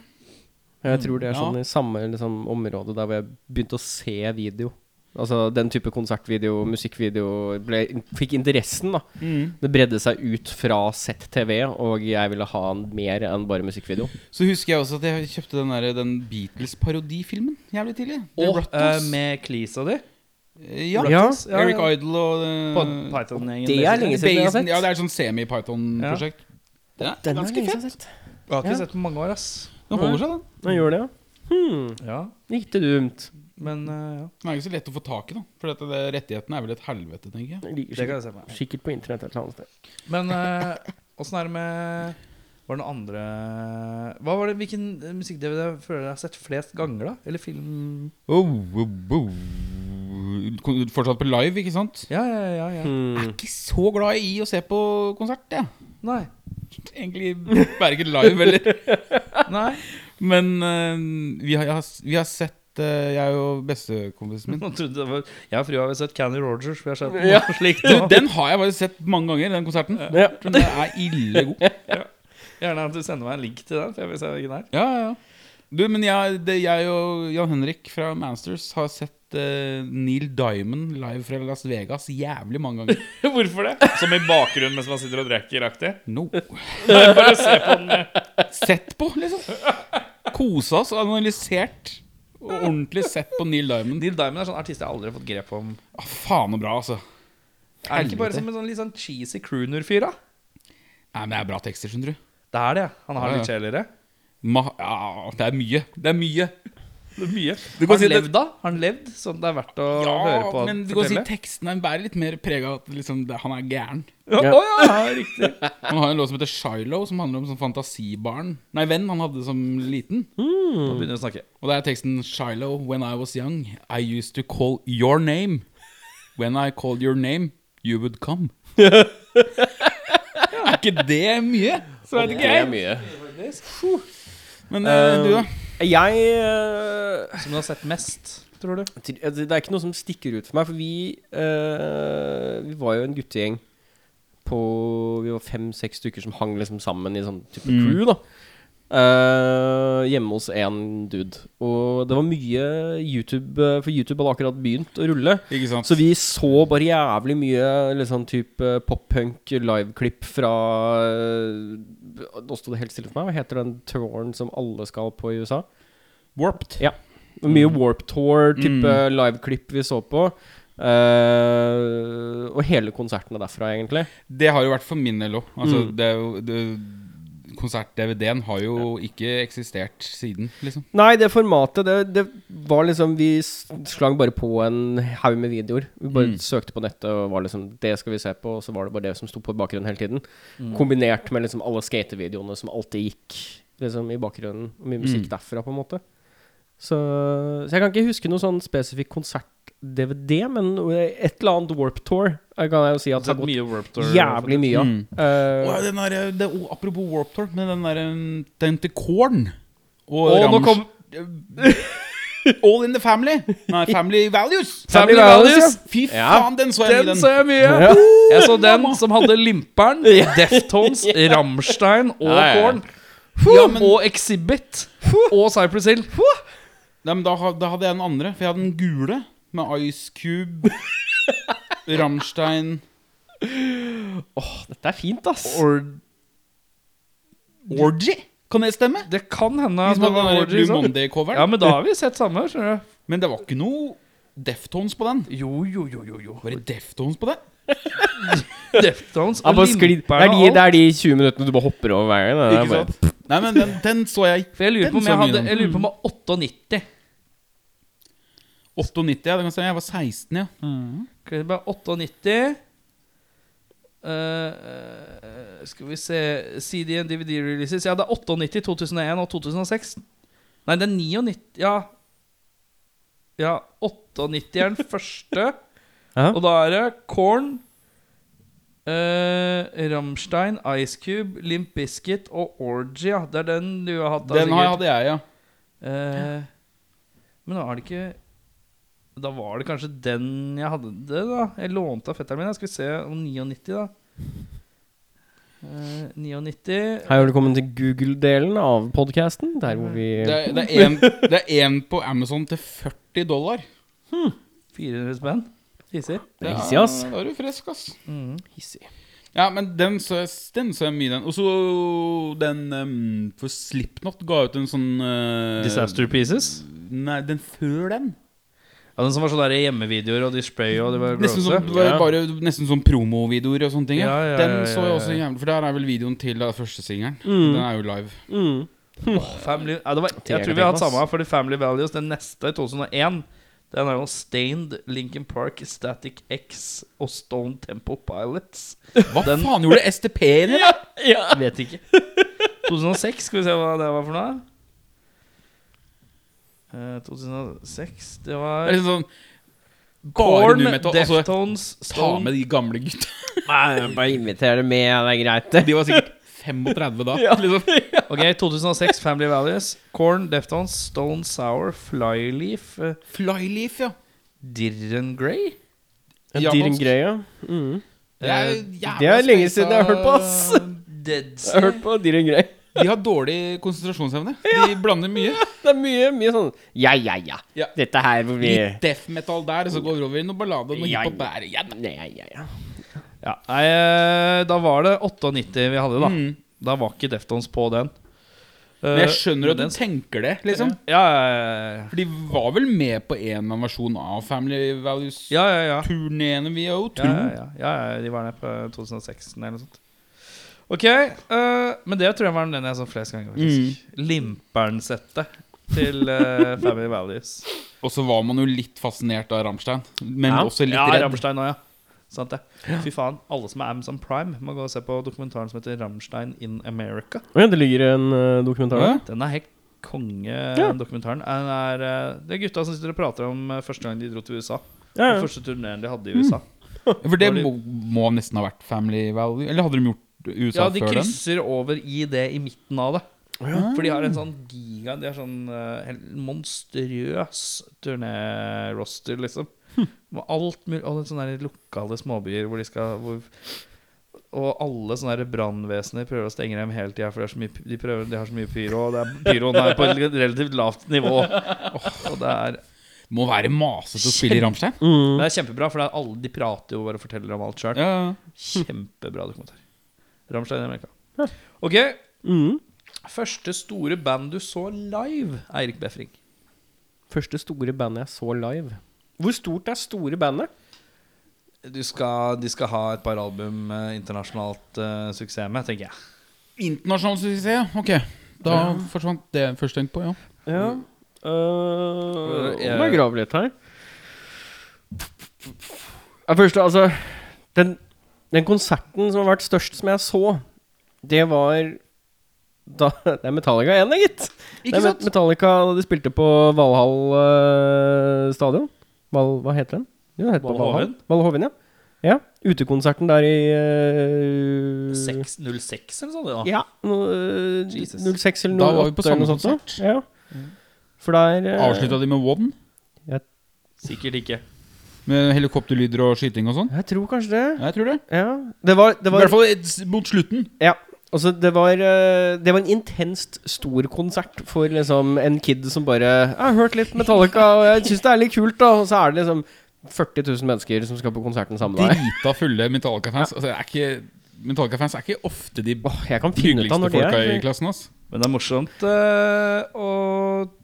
Jeg tror det er sånn
Mm, Ja.
i samme liksom, område der hvor jeg begynte å se video. Altså den type konsertvideo, musikkvideo ble, Fikk interessen, da.
Mm.
Det bredde seg ut fra sett TV, og jeg ville ha en mer enn bare musikkvideo.
Så husker jeg også at jeg kjøpte den, der, den Beatles-parodifilmen jævlig tidlig. The
Og eh,
Ruttles.
med Cleese og de.
Ja.
Rattles, ja,
Eric
ja.
Idle og eh,
På Sånn Python-gjengen.
det er lenge
siden.
siden jeg har
Basen-
sett.
Ja, det er sånn semi-Python-prosjekt. Den er
Den er
ganske
lenge siden jeg
fett.
har sett.
Jeg har ikke
Ja.
sett den på mange år, ass.
Den holder seg, da.
Den gjør det, ja. Hmm,
Ja,
gikk det dumt?
men eh, ja.
Den er ikke så lett å få tak i, da. For dette, det, rettighetene er vel et helvete, tenker jeg.
Den ligger
Det kan
sikkert,
jeg se for meg.
sikkert på internett et eller annet sted.
Men eh, åssen er det med Var det noen andre Hva var det, Hvilken eh, musikk-DVD føler du har sett flest ganger, da? Eller film?
Oh, oh, oh. Kon- Fortsatt på live, ikke sant?
Ja, ja, ja. ja.
Hmm.
Jeg er ikke så glad i å se på konsert, jeg.
Nei.
Egentlig verken live eller
Nei.
Men eh, vi, har, jeg har, vi har sett eh, Jeg og bestekompisen min
Nå trodde det var, jeg og frua har sett Candy Rogers. Vi har sett
Ja.
noe slikt.
Du,
nå.
den har jeg faktisk sett mange ganger, den konserten.
Ja.
Jeg tror Den er ille god.
Gjerne at du sender meg en link til den. For jeg vil se hvilken det er
Ja, ja, ja. Du, men jeg, det, jeg og Jan Henrik fra Mansters har sett sett eh, Neil Diamond live fra Las Vegas jævlig mange ganger.
Hvorfor det? Som i bakgrunnen mens man sitter og drikker aktig?
No.
Bare se på den.
Sett på, liksom. Kosa oss, analysert. Og ordentlig sett på Neil Diamond.
Neil Diamond er sånn artist jeg aldri har fått grep om.
Ah, faen og bra, altså.
Er han ikke bare
Helvete.
som en sånn litt sånn cheesy crooner-fyr, da?
Nei, men Det er bra tekster, skjønner du.
Det er det, ja. Han har det
Ja, ja.
litt kjedeligere.
Ma ja, det er mye. Det er mye.
Det er mye.
Du
Har
kan
han
si det-
levd, da? Har han levd sånn det er verdt å høre på?
Ja,
han
men du kan si
fortelle?
teksten er bærer litt mer preg av at liksom, det, han er gæren.
Å ja. ja, riktig.
Han har en låt som heter Shiloh, som handler om sånn fantasibarn Nei, venn han hadde som liten.
Nå begynner vi å snakke.
Og det er teksten Shiloh, when I was young, I used to call your name. When I called your name, you would come. er ikke det mye? Så er det
Det er
gøy.
mye.
Men eh, du, da?
Jeg eh,
Som du har sett mest, tror du?
til- altså, Det er ikke noe som stikker ut for meg, for vi eh, Vi var jo en guttegjeng på Vi var fem-seks stykker som hang liksom sammen i sånn type crew, da. Eh, hjemme hos én dude. Og det var mye YouTube, eh, for YouTube hadde akkurat begynt å rulle.
Ikke sant?
Så vi så bare jævlig mye liksom, type pop-punk liveklipp fra eh, Nå sto det helt stille for meg. Hva heter den touren som alle skal på i USA?
Warped. Mm.
Ja. Og Mye Warp Tour-type liveklipp vi så på. Eh, og hele konsertene derfra, egentlig.
Det har jo vært for min del òg. Altså, det er jo- det- Konsert-DVD-en har jo ikke eksistert siden, liksom.
Nei, det formatet, det, det var liksom Vi s- slang bare på en haug med videoer. Vi bare
Mm.
søkte på nettet og var liksom Det skal vi se på, og så var det bare det som sto på i bakgrunnen hele tiden.
Mm.
Kombinert med liksom alle skatevideoene som alltid gikk liksom i bakgrunnen. Og mye musikk
Mm.
derfra, på en måte. Så, så jeg kan ikke huske noe sånn spesifikk konsert-DVD, men et eller annet Warp Tour jeg kan jeg jo si at det har
Sett
gått
mye Warped Tour?
jævlig mye av.
Mm.
Eh,
Åh, den der, det, oh, apropos Warp Tour, men den der um, Den til Korn og
Åh, nå
Rammstein-
kom-
All in the family. Nei, Family Values.
Family Values.
Fy
Ja.
faen, den så jeg mye,
Den så
den.
jeg mye. Jeg så den som hadde Limper'n, Deftones, Rammstein og
ja, ja.
Korn.
Ja, men-
Og Exhibit. Og Cypress Hill.
Nei, men da, ha- da hadde jeg den andre, for jeg hadde den gule med Ice Cube, Rammstein
Dette er fint, ass.
Or-
Orgy. Kan det stemme?
Det kan hende.
De som hadde den der
Orgy,
Blue
sånn.
Monday-coveren.
Ja, men da har vi sett samme. skjønner du.
Men det var ikke noe Deftones på den.
Jo, jo, jo, jo, jo.
Var det Deftones på den?
Deftones
Ja,
og
bare skli- det,
Limper'n
er
og
de, det
alt.
er de 20 minuttene du bare hopper over hver gang. Det er
Ikke
bare-
sant?
Nei, men den, den så jeg.
For jeg lurer
Den
på om jeg
så mye,
hadde
den.
Jeg lurer på om jeg var 98.
98, ja. Det kan stemme. Jeg var 16, ja.
Skal vi bare 98 Eh, eh, Skal vi se CD and DVD releases Ja, det er 98, 2001 og 2006 Nei, det er 99 Ja Ja, 98 er den første
Ja.
Og da er det Korn eh, Rammstein, Ice Cube Limp Bizkit og Orgy ja. Det er den du har hatt altså, da,
Den har-
sikkert.
hadde jeg, ja.
Eh, men da er det ikke Da var det kanskje den jeg hadde det, da. Jeg lånte av fetteren min. Jeg skal vi se om 99, da. Eh, 99
Hei og velkommen til Google-delen av podkasten. Der hvor vi
Det er- det er en- Det er én på Amazon til 40 dollar.
400 spenn. Mhm. Fisser.
Det er hissig, ass.
Ja, Da er du frisk, ass.
Hissig.
Ja, men den så jeg, den så jeg mye, den. Og så den ehm, For Slipknot ga ut en sånn eh,
Disaster Pieces.
Nei, den før den.
Ja, Den som var sånne der hjemmevideoer og de spray og det var
Nesten
grosse.
sånn, bare, bare, nesten sånn promovideoer og sånne ting. Ja.
Ja, ja,
den
ja,
så jeg
ja,
også
ja.
jævlig For der er vel videoen til da, første singelen. Den er jo live.
Mm.
Family, ja, det var, jeg tror vi har hatt samme, fordi Family Values, den neste, i 2001, den er jo Stained, Lincoln Park, Static X og Stone Temple Pilots.
Hva
Den-
faen gjorde STP inni der?
Vet ikke. 2006, skal vi se hva det var for noe. Eh, 2006 Det
Det
var
er liksom sånn Bare
Korn,
nu metal. Altså,
Deftones,
ta
Stone
med de gamle gutta.
Bare inviter det med, det er greit, det.
De var sikkert 35 da. Liksom.
Ok, 2006, Family Values. Corn, Deftones, Stone Sour, Flyleaf, eh,
Flyleaf, ja.
Dirren Grey.
En dyr
Japansk.
greie. Mm.
Det er,
Eh,
jævla
det er lenge
space,
siden jeg har hørt på,
da.
ass.
Dead
Jeg har hørt på dyr greie.
De har dårlig konsentrasjonsevne. De blander mye.
Det er mye, mye sånn Ja, ja, ja.
Ja.
Dette her hvor vi
Litt death metal der, og så går det over i noe ballade og noe
Ja,
hiphop der. Ja, da.
Ja, ja, ja.
Ja, nei, eh, da var det 98 vi hadde, da.
Mm.
Da var ikke Deftones på den. Eh,
Men jeg skjønner at du tenker det, liksom.
Ja, ja, ja, ja.
For de var vel med på en eller annen versjon av Family Values-turneene,
ja, ja, ja.
vil jeg jo
Ja,
tro.
ja, ja. ja, ja de var der på 2016 eller noe sånt. Ok, eh, men det tror jeg var den jeg så flest ganger, faktisk.
Mm.
Limpern-settet til eh, Family Values.
Og så var man jo litt fascinert av Rammstein, men
Ja.
også litt
ja,
redd.
Rammstein òg, ja. Sant det. Fy faen, alle som er Amazon Prime, må gå og se på dokumentaren som heter 'Rammstein in America'.
Oi, det ligger en eh, dokumentar der.
Ja.
Den er helt konge,
Ja.
dokumentaren. Den er, eh, det er gutta som sitter og prater om eh, første gang de dro til USA.
Ja, ja.
Den første turneen de hadde i USA.
For det
Var det-
må, må nesten ha vært Family Value. Eller hadde de gjort USA
Ja, de
før den?
krysser over i det i midten av det. For de har en sånn giga De har sånn eh, helt monstrøs turnéroster, liksom. Med alt mulig Og sånne der lokale småbyer hvor de skal hvor, Og alle sånne der brannvesener prøver å stenge dem hele tida, for de har så mye, de prøver, de har så mye pyro. Og det er, pyroen er på et relativt lavt nivå. Og det er,
Må være masete å spille i Rammstein.
Mm,
men det er kjempebra, for det er alle, de prater jo bare og forteller om alt sjøl.
Ja.
Kjempebra dokumentar. Rammstein i Amerika. Ok.
mm.
Første store band du så live, Eirik Befring.
Første store bandet jeg så live. Hvor stort er store bandet?
Du skal, de skal ha et par album eh, internasjonalt eh, suksess med, tenker jeg.
Internasjonal suksess, ok. Da forsvant det første tenkt på, ja.
Ja uh,
jeg-
Må jeg grave litt her. Ja, Først, altså den, den konserten som har vært størst, som jeg så, det var da, det er Metallica igjen, da, gitt.
Ikke
det er
sant?
Met- Metallica da de spilte på Valhall eh, stadion. Val, hva heter den? Jo, den heter på Valhall.
Valhoven?
Valhoven, ja. ja. Utekonserten der i eh,
6, 06 eller sånn, det da.
Ja. No, eh,
Jesus.
06 eller
Ah.
08
Da var vi på
eller noe
samme
sånt. da. Ja. For der eh,
Avslutta de med Wodden?
Sikkert ikke.
Med helikopterlyder og skyting og sånn?
Jeg tror kanskje det.
Ja, Jeg tror det.
Ja. Det var, det
I
var
hvert fall et- mot slutten.
Ja. Altså, det var eh, Det var en intenst stor konsert for liksom en kid som bare Jeg har hørt litt Metallica, og jeg syns det er litt kult, da. Og så er det liksom 40 000 mennesker som skal på konserten sammen med deg.
Drita fulle Metallica-fans. Altså, det er ikke Metallica-fans er ikke ofte de
Åh, jeg kan finne ut av
hyggeligste
når det
folka
er.
i klassen. ass
Men det er morsomt eh, å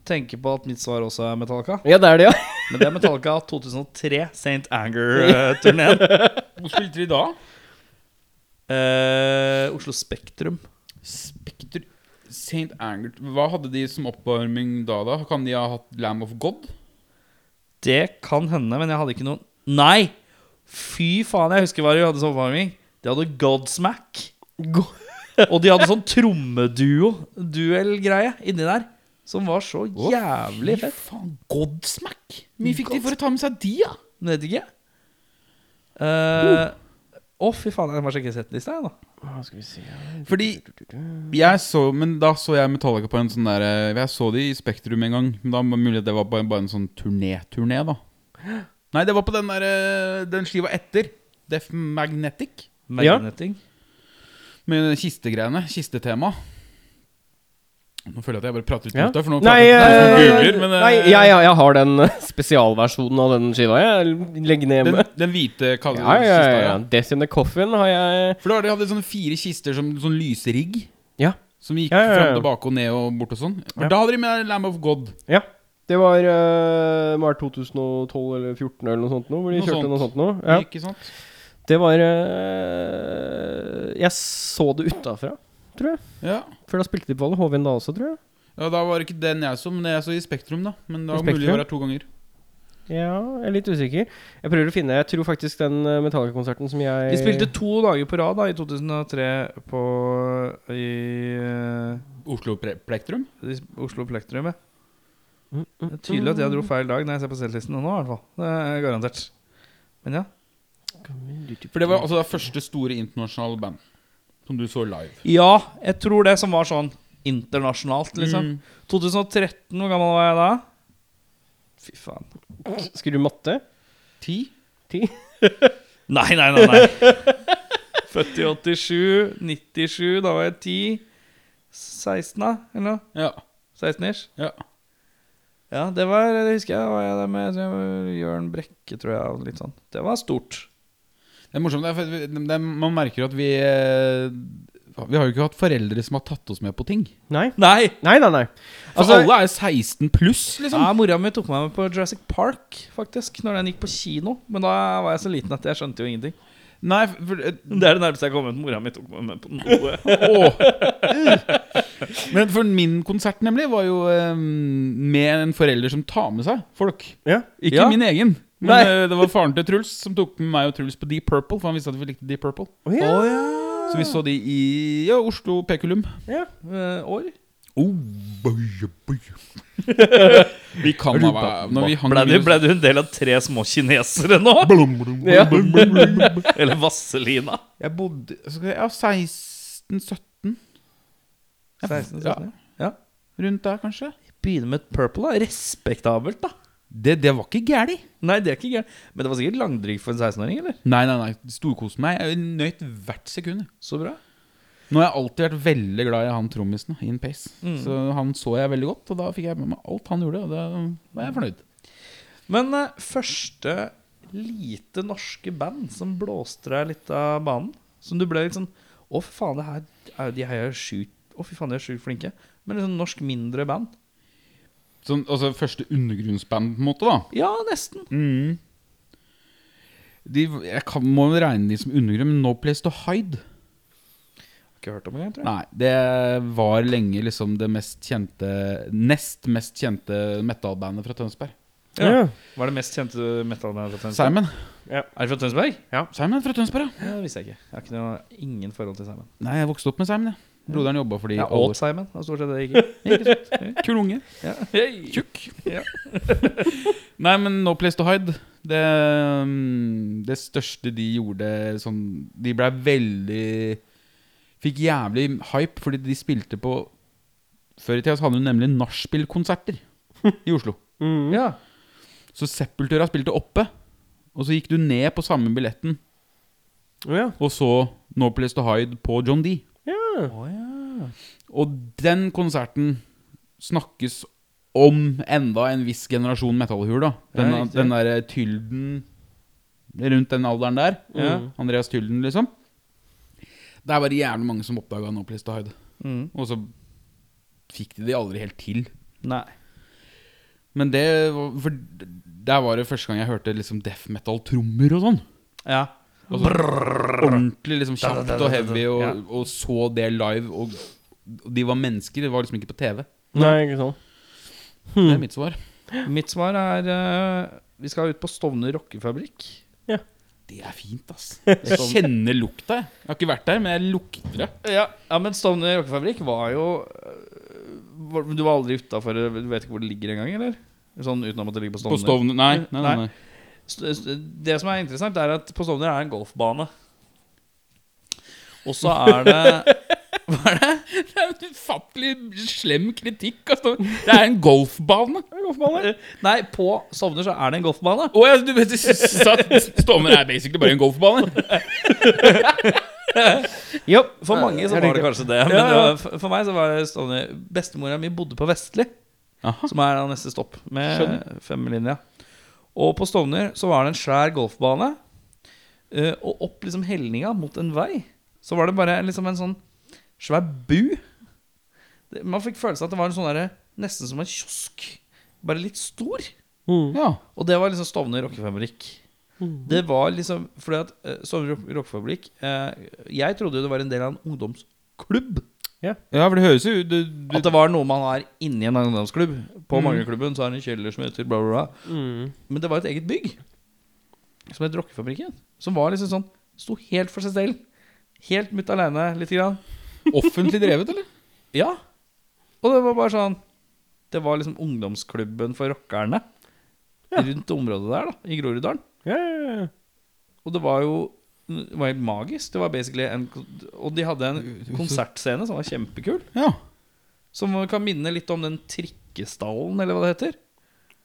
tenke på at mitt svar også er Metallica.
Ja, det er det, ja.
Men det er Metallica 2003, eh, St. Anger-turneen.
Hvor spilte de da?
Eh, Oslo Spektrum.
Spekter St. Angert Hva hadde de som oppvarming da, da? Kan de ha hatt Lamb of God?
Det kan hende, men jeg hadde ikke noen Nei! Fy faen, jeg husker hva de hadde som oppvarming. De hadde Godsmack. og de hadde sånn trommeduo, duellgreie, inni der. Som var så jævlig fett.
faen, Godsmack! Mye fikk de for å ta med seg de, da?
Men Vet ikke. Eh, Å, fy faen, jeg må sjekke settlista, jeg, da.
Fordi jeg så Men da så jeg Metallica på en sånn der Jeg så de i Spektrum en gang. Men da var det mulig at det var bare, bare en sånn turné-turné, da. Nei, det var på den der eh, Den skiva etter. Def Magnetic.
Ja.
Magneting.
Med kistegreiene. Kistetema. Nå føler jeg at jeg bare prater ut
Ja.
mot deg, for nå
Nei,
prater jeg
eh,
ut mot deg, for nå googler, men, eh,
nei ja, ja, jeg har den eh, spesialversjonen av den skiva. Jeg legger ned
Den,
med
den hvite kaller
ja, ja, ja,
kista,
ja.
ja.
Death in the Coffin har jeg
For da hadde de hadde sånne fire kister som sånn lyserigg.
Ja.
Som gikk
Ja, ja, ja.
fram, tilbake og ned og bort og sånn. For
Ja.
Da hadde de med Lamb of God.
ja. Det var uh, 2012 eller 2014 eller noe sånt nå, hvor de
Noe
kjørte
sånt.
noe sånt nå. Ja.
Ikke sant?
Det var eh, Jeg så det utafra, tror jeg.
Ja.
For da spilte de på alle Hovin da også, tror jeg.
ja, da var det ikke den jeg så, men jeg så i Spektrum, da. Men
I
da var det mulig
Spektrum?
å være her to ganger.
Ja, jeg er litt usikker. Jeg prøver å finne Jeg tror faktisk den eh, Metallica-konserten som jeg
De spilte to dager på rad da i 2003 på i eh,
Oslo Pre Plektrum?
i Oslo Plektrum, ja.
Mm, mm,
Det er tydelig at jeg dro feil dag når jeg ser på selvlisten nå, i hvert fall. Det er garantert. Men ja.
For det var altså det første store internasjonale band som du så live.
Ja, jeg tror det som var sånn internasjonalt, liksom. 2013, hvor gammel var jeg da? Fy faen.
Skulle du matte?
Ti?
Ti?
Nei, nei, nei. nei. Født i 87, 97, da var jeg 10. 16, da? Eller noe?
Ja.
16 ish?
ja.
Ja, det var Det husker jeg. Var jeg der med jeg tror jeg var Jørn Brekke, tror jeg. Og litt sånn. Det var stort.
Det er morsomt. Det er, for- det er, man merker at vi eh, Vi har jo ikke hatt foreldre som har tatt oss med på ting.
Nei.
Nei!
Nei, nei, nei.
For
Altså-
alle er 16 pluss, liksom.
Ja, Mora mi tok meg med på Jurassic Park, faktisk. Når den gikk på kino. Men da var jeg så liten at jeg skjønte jo ingenting.
Nei, for, eh,
Det er det nærmeste jeg kom ut. Mora mi tok meg med på noe.
Åh. Men for min konsert nemlig var jo eh, med en forelder som tar med seg folk.
Ja.
Ikke
Ja.
min egen, men
Nei.
eh, det var faren til Truls som tok med meg og Truls på Deep Purple. For han visste at vi likte Deep Purple.
Å ja.
Så vi så de i ja, Oslo Pekulum.
ja.
Eh, år?
Oh, boy, boy. vi kan da være Når vi hang
Ble du, ble du en del av tre små kinesere nå?
Ja.
Eller Vazelina?
Jeg bodde skal jeg, Ja, 16-17.
16,
Ja.
17, ja.
sånn. Rundt der, kanskje.
Begynne med et purple, da. Respektabelt, da.
Det, det var ikke gæli.
Nei, det er ikke gærent. Men det var sikkert langdrygt for en 16-åring, eller?
Nei, nei, nei. Storkoste meg. Jeg nøt hvert sekund. jeg.
Så bra.
Nå har jeg alltid vært veldig glad i han trommisen da, in pace. Så han så jeg veldig godt, og da fikk jeg med meg alt han gjorde, og da var jeg fornøyd.
Men eh, første lite norske band som blåste deg litt av banen? Som du ble litt sånn Å, fy faen, det her er, de her er sjukt Å, fy faen, de er sjukt flinke. Men litt sånn norsk mindre band?
Sånn, altså første undergrunnsband, på en måte, da.
Ja, nesten.
Mm. De, jeg kan, må jo regne de som undergrunn, men No Place To Hide
Ikke hørt om engang, tror jeg.
Nei, det var lenge liksom det mest kjente Nest mest kjente metalbandet fra Tønsberg.
Ja.
Ja.
Hva er det mest kjente metalbandet fra Tønsberg?
Simon.
Er det fra Tønsberg?
Simon fra Tønsberg, ja.
Ja, det visste jeg ikke. Jeg har ikke noe, ingen forhold til Simon.
Nei, jeg vokste opp med Simon, jeg. Broderen jobba for de
Jeg
alle-
åt Simon. Det var stort sett det jeg gikk i.
Kul unge.
Ja.
Tjukk. Nei, men No Place To Hide det, mm, det største de gjorde sånn De blei veldig Fikk jævlig hype fordi de spilte på Før i tida så hadde hun nemlig nachspielkonserter i Oslo.
Mm.
Ja.
Så Sepultura spilte oppe, og så gikk du ned på samme billetten
Å ja.
og så No Place To Hide på John D. Og den konserten snakkes om enda en viss generasjon metallhuer, da. Den,
Ja, riktig.
den derre Tylden rundt den alderen der.
Ja.
Andreas Tylden, liksom. Der var det jævlig mange som oppdaga No Place To Hide.
Mm.
Og så fikk de de aldri helt til.
Nei.
Men det var- For der var det første gang jeg hørte liksom death metal-trommer og sånn.
Ja.
Altså, ordentlig liksom kjapt og heavy, og,
Ja.
og så det live. Og, og de var mennesker, det var liksom ikke på TV.
Nei, ikke sant.
Det er mitt svar.
Mitt svar er eh, Vi skal ut på Stovner rockefabrikk.
Det er fint, ass. Jeg kjenner lukta. Jeg Jeg har ikke vært der, men jeg lukter det.
Ja, ja men Stovner rockefabrikk var jo eh, var- Du var aldri utafor Du vet ikke hvor det ligger engang, eller? Sånn uten å måtte ligge på Stovner.
Nei,
nei, nei, nei. St- st- Det som er interessant, er at på Stovner er det en golfbane. Og så er det
Det er en ufattelig slem kritikk. Altså. Det er en golfbane.
Nei, på Stovner så er det en golfbane.
Å ja, du vet, Stovner er basically bare en golfbane.
Jo.
For mange så
jeg
var det
tenkte-
kanskje det. Men
Ja, ja.
det var- for- for meg så var det stående Bestemora mi bodde på Vestli,
Aha.
som er da neste stopp, med femmelinja. Og på Stovner så var det en svær golfbane. eh, Og opp liksom helninga mot en vei, så var det bare liksom en sånn svær bu. Det- Man fikk følelsen at det var en sånn derre Nesten som en kiosk, bare litt stor.
Mm.
Ja.
Og det var liksom Stovner rockefabrikk. Det var liksom Fordi at eh, Stovner rock- rockefabrikk eh, Jeg trodde jo det var en del av en ungdomsklubb.
ja, for det høres jo ut du- du-
At det var noe man har inni en ungdomsklubb. På Manglerklubben så er det en kjeller som heter bla, bla, bla.
Mm.
Men det var et eget bygg som het Rockefabrikken. Som var liksom sånn Sto helt for seg selv. Helt mutt aleine, lite grann.
Offentlig drevet, eller?
Ja. Og det var bare sånn Det var liksom ungdomsklubben for rockerne rundt området der, da, i Groruddalen.
Ja, ja, ja.
Og det var jo det var helt magisk. Det var basically en, og de hadde en konsertscene som var kjempekul.
Ja.
Som kan minne litt om den trikkestallen, eller hva det heter.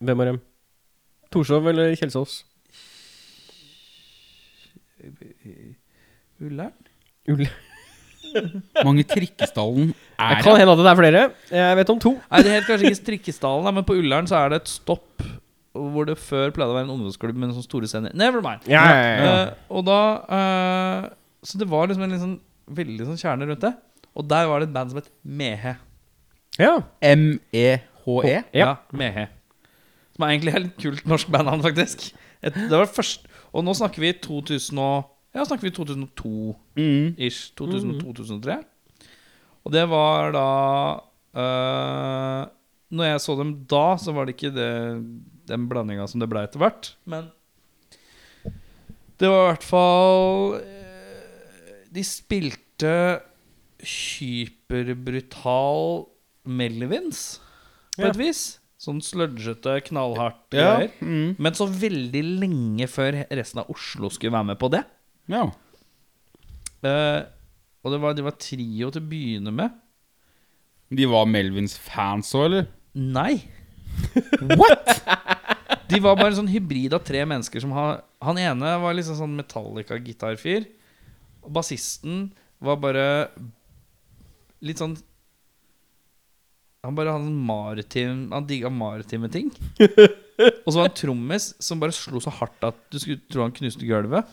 Hvem av dem? Torshov eller Kjelsås?
Ullern?
Ull.
Mange trikkestallen er
Det kan hende at det er flere. Jeg vet om to.
Nei, det heter kanskje ikke Trikkesdalen, da, men på Ullern så er det et stopp hvor det før pleide å være en ungdomsklubb med sånne store scener. Never mind.
Ja, ja, ja, ja.
Eh, og da eh, Så det var liksom en litt sånn, veldig sånn kjerne rundt det. Og der var det et band som het Mehe.
ja.
E M-E-H-E.
Ja.
Mehe. Som er egentlig et helt kult norsk bandnavn, faktisk. Et, det var først Og nå snakker vi 2000 og, Ja, snakker vi 2002.
Mm.
ish. 2000-2003. Og det var da eh, Når jeg så dem da, så var det ikke det, den blandinga som det ble etter hvert. Men det var i hvert fall eh, De spilte hyperbrutal Melvins, på
Ja.
et vis. Sånn sludgete, knallhardt
Ja.
greier.
Mm.
Men så veldig lenge før resten av Oslo skulle være med på det.
ja.
Eh, og det var, det var trio til å begynne med.
De var Melvins fans òg, eller?
Nei.
What?!
De var bare en sånn hybrid av tre mennesker som har Han ene var liksom sånn Metallica-gitarfyr. Og bassisten var bare litt sånn Han bare hadde en maritim Han digga maritime ting. Og så var han trommis som bare slo så hardt at du skulle tro han knuste gulvet.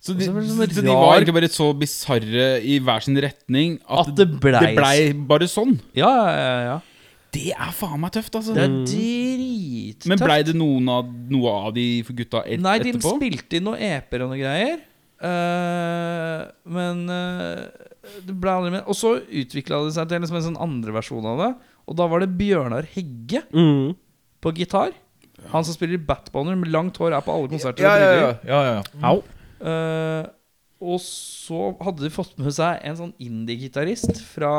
Så de,
Og så var det
så
sånn
de
rar-
var egentlig bare så bisarre i hver sin retning at,
At det blei
det blei bare sånn.
Ja, ja, ja. ja. Mm.
Det er faen meg tøft, altså.
Det er drittøft.
Men blei det noen av, noe av de gutta et,
Nei, de
etterpå?
spilte inn noen EP-er og noen greier. Eh, men eh, det ble aldri med. Og så utvikla det seg til liksom en sånn andre versjon av det. Og da var det Bjørnar Hegge
Mm.
på gitar. Han som spiller i Batboner med langt hår, er på alle konserter. og briller.
Au.
Eh, og så hadde de fått med seg en sånn indie-gitarist fra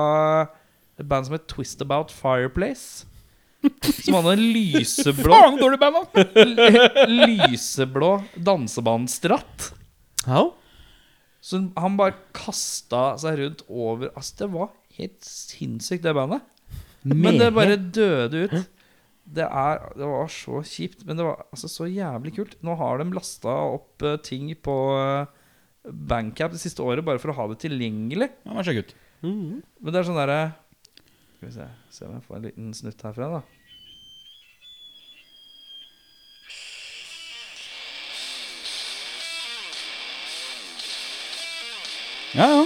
et band som het Twist About Fireplace. Som hadde en lyseblå
Faen, så dårlig band, da!
Lyseblå dansebandstratt.
Au.
Så han bare kasta seg rundt over Altså, det var helt sinnssykt, det bandet. Men det bare døde ut. Det, er, det var så kjipt, men det var altså så jævlig kult. Nå har de lasta opp eh, ting på uh, Bankcap det siste året bare for å ha det tilgjengelig.
Ja, men sjekk ut.
Men det er sånn derre Skal vi se Se om jeg får en liten snutt herfra, da.
Ja, ja.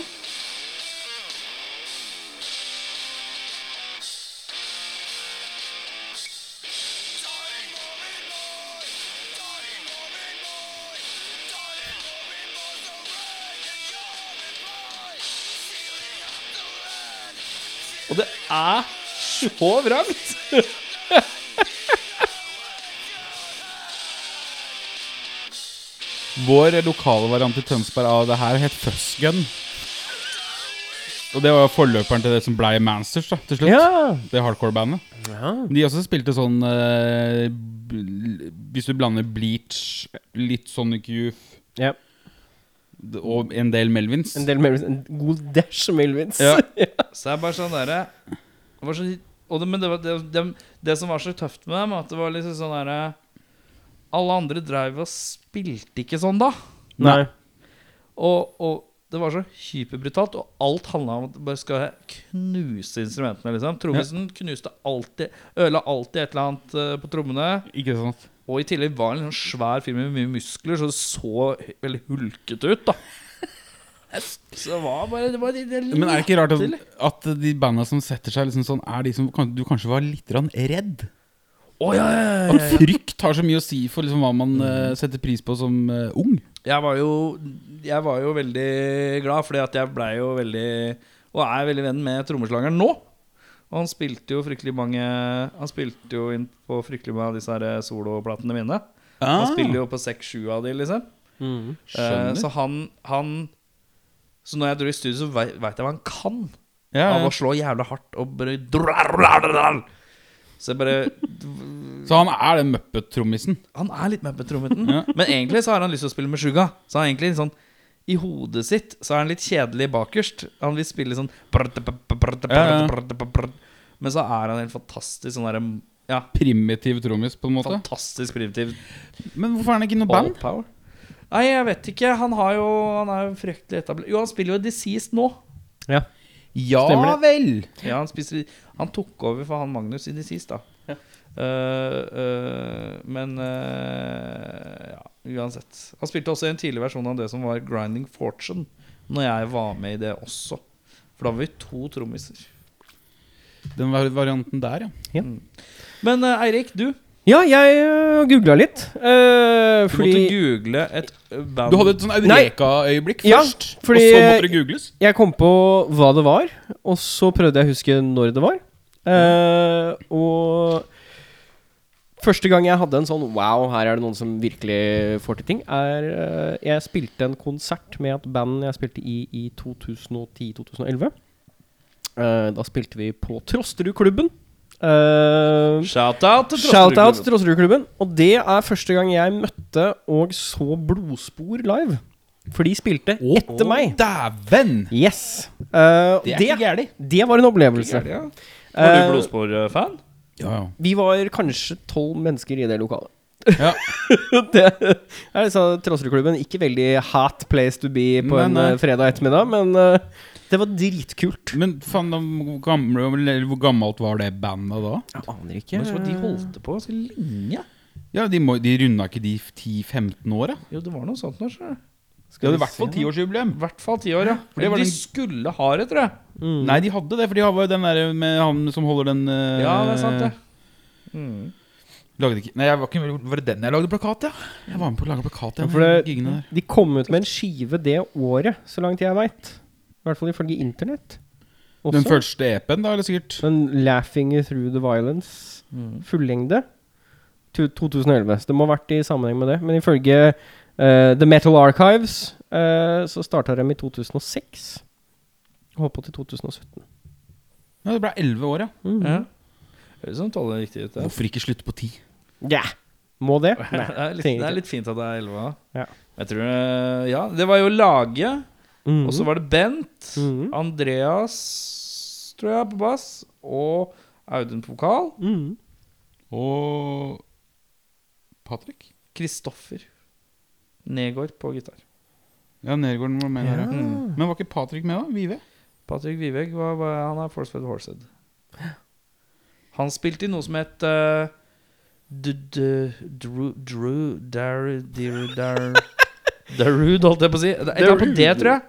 Og det er så vrangt!
Vår lokale variant i Tønsberg av det her het Fuzzgun. Og det var jo forløperen til det som blei Mansters, da, til slutt.
Ja.
Det hardcore-bandet. De også spilte sånn eh, bl- Hvis du blander Bleach, litt Sonic Youth
ja.
d- og en del Melvins
En del Melvins. En god dash Melvins.
Ja.
Så det er bare sånn derre det var så, og det, Men det, var, det, det, det som var så tøft med dem, at det var liksom sånn derre Alle andre dreiv og spilte ikke sånn da.
Nei.
Og, og det var så hyperbrutalt, og alt handla om at du bare skal knuse instrumentene. liksom Trommisen knuste alltid Ødela alltid et eller annet eh, på trommene.
Ikke sant?
Og i tillegg var han en sånn svær fyr med mye muskler, så det så veldig hulkete ut, da. Så det var bare det var, det, det
Men er det ikke rart at,
Eller?
at de banda som setter seg liksom sånn, er de som kan, du kanskje var litt grann redd?
Å, ja, ja, ja,
At frykt har så mye å si for liksom hva man eh, setter pris på som eh, ung.
Jeg var jo, jeg var jo veldig glad, fordi at jeg blei jo veldig Og er veldig venn med trommeslageren nå. Og han spilte jo fryktelig mange Han spilte jo inn på fryktelig mange av disse her soloplatene mine. Han spiller jo på seks-sju av de, liksom.
Mm.
Eh,
Ah. Skjønner.
så han, han Så når jeg dro i studio, så veit jeg hva han kan.
ja,
Av
ja.
å slå jævla hardt og bare drarrarrar. Så jeg bare
Så han er den muppet-trommisen.
Han er litt med på trommeten.
Ja.
Men egentlig så har han lyst til å spille med Suga. Så han er egentlig litt sånn I hodet sitt så er han litt kjedelig bakerst. Han vil spille sånn
Ja, ja.
Men så er han helt fantastisk sånn derre Ja,
Primitiv trommis, på en måte.
fantastisk primitiv
Men hvorfor er han ikke i noe
all
band?
power. Nei, jeg vet ikke. Han, har jo, han er jo fryktelig etablert. Jo, han spiller jo Deceased nå.
Ja.
Ja
Stemmer det.
vel!
Ja, han, spiser, han tok over for han Magnus i Deceased, da. Eh, eh, men eh, ja, uansett. Han spilte også en tidlig versjon av det som var Grinding Fortune. Når jeg var med i det også. For da var vi to trommiser.
Den var- varianten der, ja.
Men eh, Eirik, du,
Ja, jeg uh, googla litt. eh,
du
fordi
måtte google et eh, band
Du hadde et sånn eureka-øyeblikk
Ja,
først,
fordi-
og så måtte det googles.
Jeg kom på hva det var, og så prøvde jeg å huske når det var. Eh, og første gang jeg hadde en sånn wow, her er det noen som virkelig får til ting, er eh, Jeg spilte en konsert med et band jeg spilte i i 2010-2011. Eh, da spilte vi på Trosterudklubben. Uh,
Shout-out til
Shout-out
Trosterudklubben.
til Roserudklubben. Og det er første gang jeg møtte og så Blodspor live. For de spilte eh, etter meg.
Dæven!
Yes. Eh,
Det er
det,
ikke gærlig.
det var en opplevelse.
Ja. Var
Eh,
du Blodspor-fan?
Ja, ja.
vi var kanskje tolv mennesker i det lokalet.
Ja.
det er liksom Troserudklubben. Ikke veldig hot place to be på
Nei,
en
nei.
eh, fredag ettermiddag, men eh, det var dritkult.
Men faen, da, hvor, gamle, eller hvor gammelt var det bandet da?
Jeg aner ikke.
Men så var de holdt på ganske lenge.
Ja, De, må, de runda ikke de 10-15 åra?
Jo, det var noe sånt. nå, skjønner du.
De hadde i hvert fall tiårsjubileum.
I hvert fall ti år, ja.
det var
de
den-
skulle ha det, tror jeg.
Mm.
Nei, de hadde det, for de var jo den der med han som holder den eh,
Ja, det er sant, det. Eh,
Lagde ikke Nei, jeg var, ikke, var det den jeg lagde plakat, ja? Jeg var med på å lage plakat. Ja,
Ja, for det-
gigene der.
De kom ut med en skive det året, så langt jeg veit. I hvert fall ifølge internett.
Den første EP-en, da, eller sikkert?
Den 'Laughing Through the Violence',
mm.
fullengde. Tu- 2011. Så det må ha vært i sammenheng med det. Men ifølge eh, The Metal Archives eh, så starta de i 2006. Og Mm. Hoppa til 2017.
Ja, det ble 11 år, ja.
Ja. Høres som tolv er riktig ut. Det.
Hvorfor ikke slutte på 10?
Ja! Må det?
Det, er litt, det
trenger
er litt fint at det er elleve.
Ja.
Jeg tror eh, Ja, det var jo Lage,
Mhm.
og så var det Bent,
Mhm.
Andreas, tror jeg, på bass, og Audun på vokal.
Mhm.
Og Patrick?
Kristoffer Negård på gitar.
Ja, Nergården var med der, ja.
Mm.
Men var ikke Patrick med, da? Vive?
Patrick Viveg var, var, han er Forsfed Horsed. Han spilte i noe som het eh, D- D- Dru... Dru... Dar... Dir... Dar... Darude, holdt jeg på å si. Det- Et eller annet på det, tror jeg.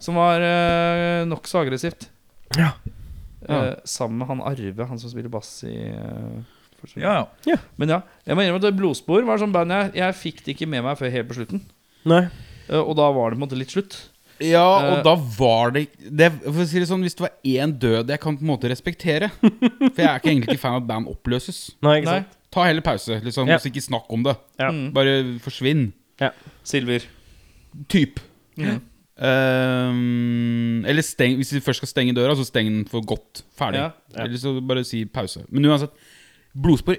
Som var uh, nokså aggressivt.
Ja.
Eh, sammen med han Arve, han som spiller bass i eh, Forsfed.
Ja,
Men ja, jeg må innrømme at Blodspor var sånn band jeg, jeg fikk det ikke med meg før helt på slutten.
Nei.
Eh, og da var det på en måte litt slutt.
Ja, og
Eh,
da var det, det For å si det sånn, hvis det var én død jeg kan på en måte respektere For jeg er ikke egentlig ikke fan av at band oppløses.
Nei, ikke
Nei.
sant?
Ta heller pause, liksom.
Ja.
Så ikke snakk om det.
Ja.
Mm.
Bare forsvinn.
Silver.
Typ.
Mm.
Ehm, eller steng, hvis du først skal stenge døra, så steng den for godt. Ferdig.
Ja.
Ja.
Eller så bare si pause. Men uansett, blodspor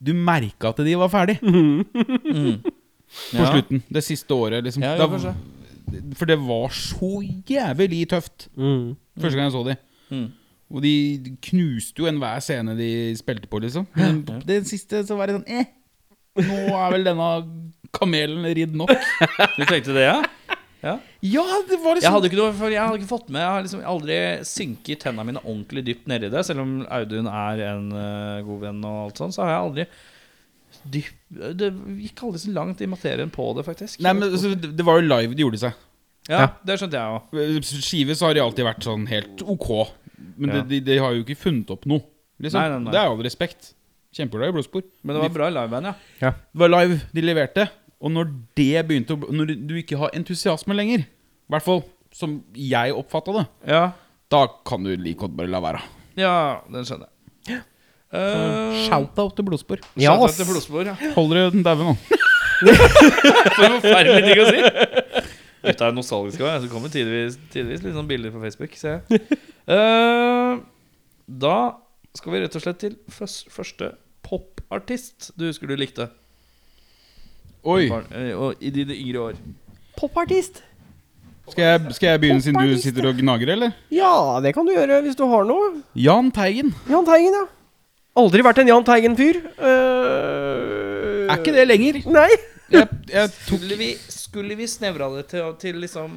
Du merka at de var ferdig på
Mm. Ja.
slutten. Det siste året, liksom.
Ja,
Da-
ja, kanskje.
for det var så jævlig tøft.
Mhm.
Første gang jeg så de
Mm.
Og de knuste jo enhver scene de spilte på, liksom. Men på den siste så var det sånn eh, Nå er vel denne kamelen ridd nok.
Du tenkte det, ja?
Ja, det var
Jeg
liksom
hadde ikke noe, for jeg hadde ikke fått med Jeg har liksom aldri synket tennene mine ordentlig dypt nedi det. Selv om Audun er en eh, god venn og alt sånt, så har jeg aldri dyp, Det gikk aldri så langt i materien på det, faktisk.
Nei, men altså, Det det var jo live de gjorde seg.
ja, det skjønte jeg òg.
Skive så har de alltid vært sånn helt ok. Men
Ja.
de, de, de har jo ikke funnet opp noe. Liksom.
Nei, nei, nei.
Det er all respekt. Kjempeglad i blodspor.
Men det var bra liveband, ja.
Det var live de leverte. Og når det begynte å Når du ikke har entusiasme lenger, i hvert fall som jeg oppfatta det,
Ja,
da kan du like godt bare la være.
ja den skjønner jeg. Eh,
Shout-out til blodspor.
Ja,
shout out
ass.
til blodspor, ja.
Hold dere den daue nå.
Forferdelig ting å si. Gutta er nostalgiske òg. Så kommer tidvis, tidvis litt sånn bilder på Facebook, ser jeg. Eh, da skal vi rett og slett til førs- første popartist du husker du likte.
Oi,
Barn, eh, og I dine yngre år.
Popartist?
skal jeg, skal jeg begynne siden du sitter og gnager, eller?
Ja, det kan du gjøre hvis du har noe.
Jan Teigen.
Jahn Teigen, ja. Aldri vært en Jahn Teigen-fyr. Eh,
Er ikke det lenger?
Nei.
Jeg, jeg tok
Skulle vi, s- skulle vi snevra det til, til liksom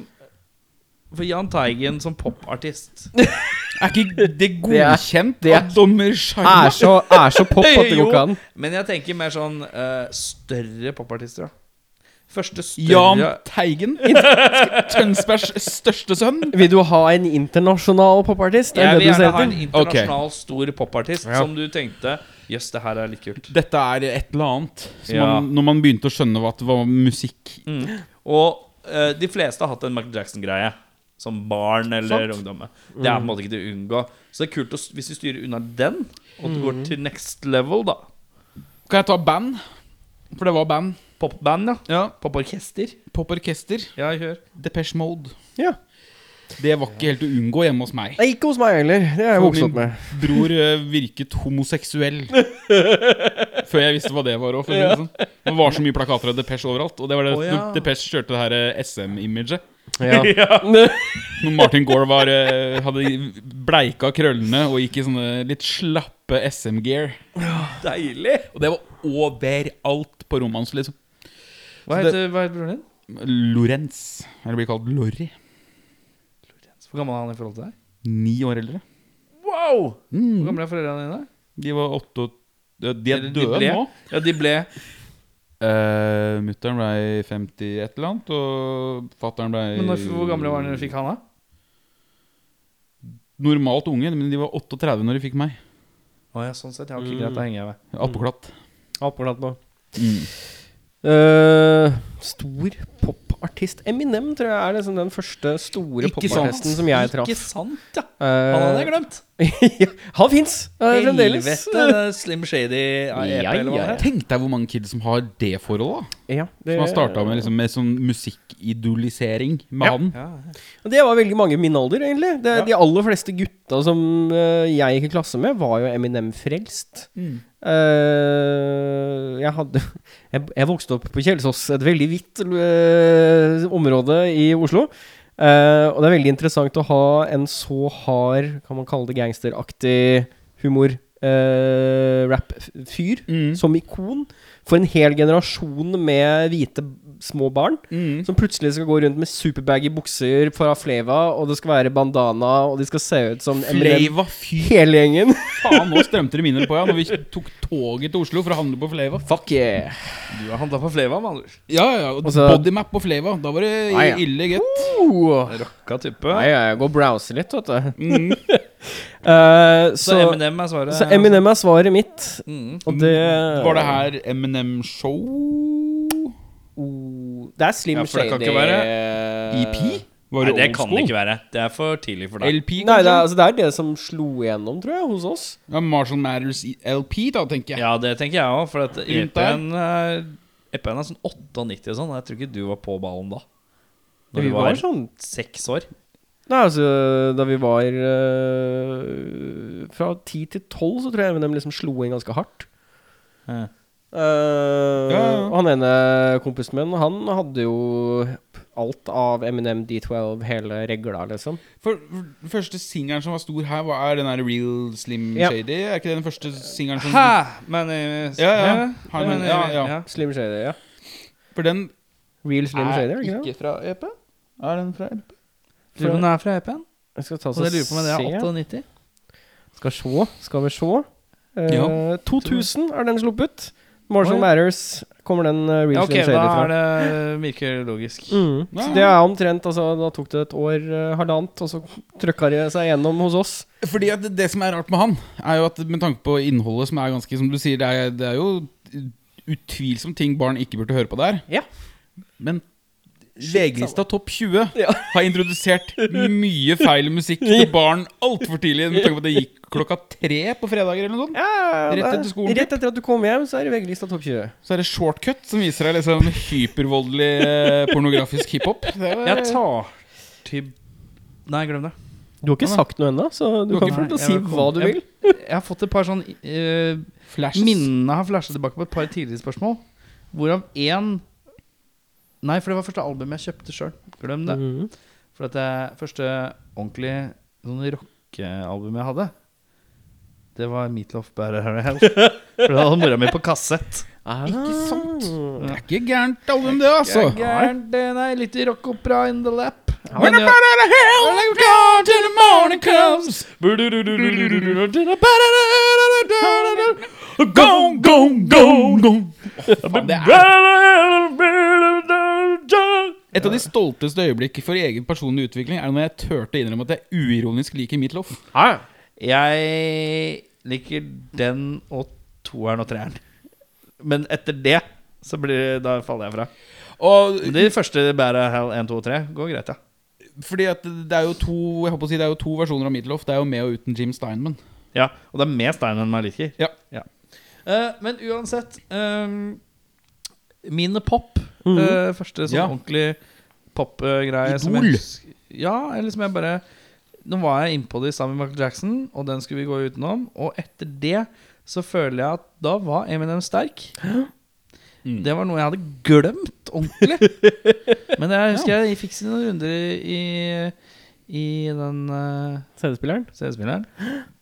For Jahn Teigen som popartist
Er ikke det
er-
godkjent
det er-
av dommer
Er
Shiner?
så, er så pop at det
Jo,
går ikke an.
Men jeg tenker mer sånn eh, større popartister, da. Første større
Jahn Teigen? Tønsbergs største sønn?
Vil du ha en internasjonal popartist? Er det
Jeg
det
vil
du
gjerne
ser
ha en
etter?
internasjonal, stor popartist som du tenkte Jøss, det her er litt kult.
Dette er et eller annet. Som
Ja.
man, når man begynte å skjønne hva det var musikk
Mm. Og eh, de fleste har hatt en Michael Jackson-greie. Som barn eller ungdom. Det er på en måte ikke til å unngå. Så det er kult å, s- hvis du styrer unna den, og du går til next level, da.
Kan jeg ta band? For det var band.
Popband, ja.
Ja.
Poporkester.
Poporkester.
Ja, kjør.
Depeche Mode.
Ja.
Det var ikke helt å unngå hjemme hos meg.
Nei, ikke hos meg heller. Det er jeg
For
vokst opp
min
med.
bror eh, virket homoseksuell. Før jeg visste hva det var òg. Sånn. Det var så mye plakater av Depeche overalt. Og det var det
Å, ja.
Depeche kjørte det her eh, SM-imaget.
Ja.
Når Martin Gore var, eh, hadde bleika krøllene og gikk i sånne litt slappe SM-gear.
Deilig!
Og det var overalt på rommet hans, liksom.
Hva
Så det-
heter, hva heter broren din?
Lorentz. Eller blir kalt Lorry.
Hvor gammel er han i forhold til deg?
Ni år eldre.
Wow!
Mm.
Hvor gamle er foreldrene dine?
De var åtte og De er
Eller de
døde
ble.
nå.
Ja, de ble
Uh, Mutter'n blei 50 et eller annet, og fatter'n blei
Men når, hvor gamle var de når du fikk han, da?
Normalt unge, men de var 38 når de fikk meg.
Å ja, sånn sett. Ja, ok, greit, da henger jeg med.
Appåklatt.
Oppglatt nå.
Mm.
Eh, stor popartist Eminem tror jeg er liksom den første store
Ikke sant.
popartisten som jeg traff.
Ikke sant, ja!
Eh,
Han hadde jeg glemt.
ja, han fins eh, fremdeles.
Helvete, det er Slim Shady av EP,
Ja, ja,
eller hva det
ja.
heter.
Mm. Tenk deg hvor mange kids som har det forholdet. da
Eh, Ja, det,
Som har starta med, liksom, med sånn musikkidolisering med han.
det var veldig mange i min alder, egentlig. Det, De aller fleste gutta som eh, jeg gikk i klasse med, var jo Eminem-frelst.
Mm.
Eh, jeg hadde jeg, jeg vokste opp på Kjelsås, et veldig hvitt eh, område i Oslo. Eh, og det er veldig interessant å ha en så hard, kan man kalle det gangsteraktig humor. eh, Rap-fyr
Mm.
som ikon for en hel generasjon med hvite små barn.
Mm.
Som plutselig skal gå rundt med superbaggy bukser fra Fleva, og det skal være bandana, og de skal se ut som Eminem.
Flava, fy
Hele gjengen.
faen! Nå strømte det minner på ja, Når vi tok toget til Oslo for å handle på Flava.
Fuck yeah.
Du har handla for Fleva, med andre ord.
Ja, ja, og
Altså-
Bodymap på Flava. Da var det
Ah,
Nei, ja.
ille gutt.
Uh.
Rocka type.
Nei, jeg går og browser litt, vet du.
Mm.
Eh, så,
Så Eminem er svaret.
så Eminem er svaret mitt,
Mm.
og det
Var det her Eminem-show?
Oh, Det er Slim
Ja, for det kan
Shady eh,
ikke være E
EP? E Var
Eh, Nei,
det
det kan
old school?
det ikke være. Det er for tidlig for deg.
LP,
Nei, det er,
kanskje?
altså, det er det som slo igjennom, tror jeg, hos oss.
Ja, Marshall Matters i- LP, da, tenker jeg.
Ja, det tenker jeg òg, for at
Rundt der.
EP-en er, EP er sånn 98 og sånn. og Jeg tror ikke du var på ballen da. Når
Vi
du
var
var
sånn
seks år.
Nei, altså, da vi var eh, Fra ti til tolv, så tror jeg Eminem liksom slo inn ganske hardt.
Ja.
Eh,
Ja, ja.
Og han ene kompisen min, han hadde jo alt av Eminem D12, hele regla, liksom.
For, for den første singelen som var stor her, hva er den der Real Slim
Ja.
Shady? Er ikke det den første singelen som
Hæ! Men eh,
Ja, ja.
hæ?
Hi, my name- ja, ja.
Slim Shady, ja.
For den
Real Slim Shady, er
er
det ikke det?
ikke fra EP? Er den fra EP?
Lurer på om den er fra EP-en.
Jeg skal ta
Og
så
det lurer på om det er
se.
98.
Skal sjå, skal vi sjå. Eh,
Ja.
2000 er den sluppet. Marshall
Oi.
Matters kommer den eh,
Ja,
Real
ok,
Slim Shady
da
fra.
er det virker logisk.
Mm.
Ja,
Så
ja.
det er omtrent altså, Da tok det et år, eh, halvannet, og så trøkka det seg gjennom hos oss.
Fordi at det som er rart med han, er jo at med tanke på innholdet, som er ganske Som du sier, det er, det er jo utvilsomt ting barn ikke burde høre på der.
Ja. altså.
Men VG-lista Topp 20
Ja.
har introdusert mye feil musikk til barn altfor tidlig. Med tanke på at det gikk klokka tre på fredager eller noe sånt. Rett
det er-
etter skolen,
Rett etter at du kom hjem, så er det VG-lista topp 20.
Så er det shortcut som viser deg liksom hypervoldelig eh, pornografisk hiphop. Det var-
Jeg tar til Nei, glem det.
Du har ikke sagt noe ennå, så du
Du har
kan
ikke-
få lov til å
Nei,
si
jeg
hva du
velkommen.
vil.
Jeg har fått et par sånn eh,
Flashes.
Minnene har flashet tilbake på et par tidligere spørsmål. Hvorav én Nei, for det var første albumet jeg kjøpte sjøl. Glem det.
Mhm.
For at det første ordentlig sånn rockealbumet jeg hadde, det var Meatloaf Better Hell. For det hadde mora mi på kassett.
Ikke sant? Det er ikke gærent album, det, altså.
Gærent, det er litt rockopera in the lap.
When I'm out of the hell, I'm gone till the morning comes. Gone, gone, gone, gone. Å, faen, det er Et av de stolteste øyeblikk for egen personlig utvikling er når jeg turte å innrømme at jeg uironisk liker Meatloaf.
Jeg liker den og toeren og treeren. Men etter det så blir det, da faller jeg fra.
Og
Men De første bærer hell 1, 2 og 3 går greit, ja.
fordi at det er jo to Jeg holdt på å si det er jo to versjoner av Meatloaf. Det er jo med og uten Jim Steinman.
ja. Og det er mer stein enn man liker.
Ja.
Eh, men uansett um, Mine pop. eh, første sånn
Mhm. Ja.
ordentlig popgreie. som jeg
Idol.
husker- Ja, eller som jeg bare Nå var jeg innpå det sammen med Michael Jackson, og den skulle vi gå utenom. Og etter det så føler jeg at da var Eminem sterk.
Mm.
Det var noe jeg hadde glemt ordentlig. Men jeg husker jeg fikk sine runder i, i den eh,
CD-spilleren?
CD-spilleren.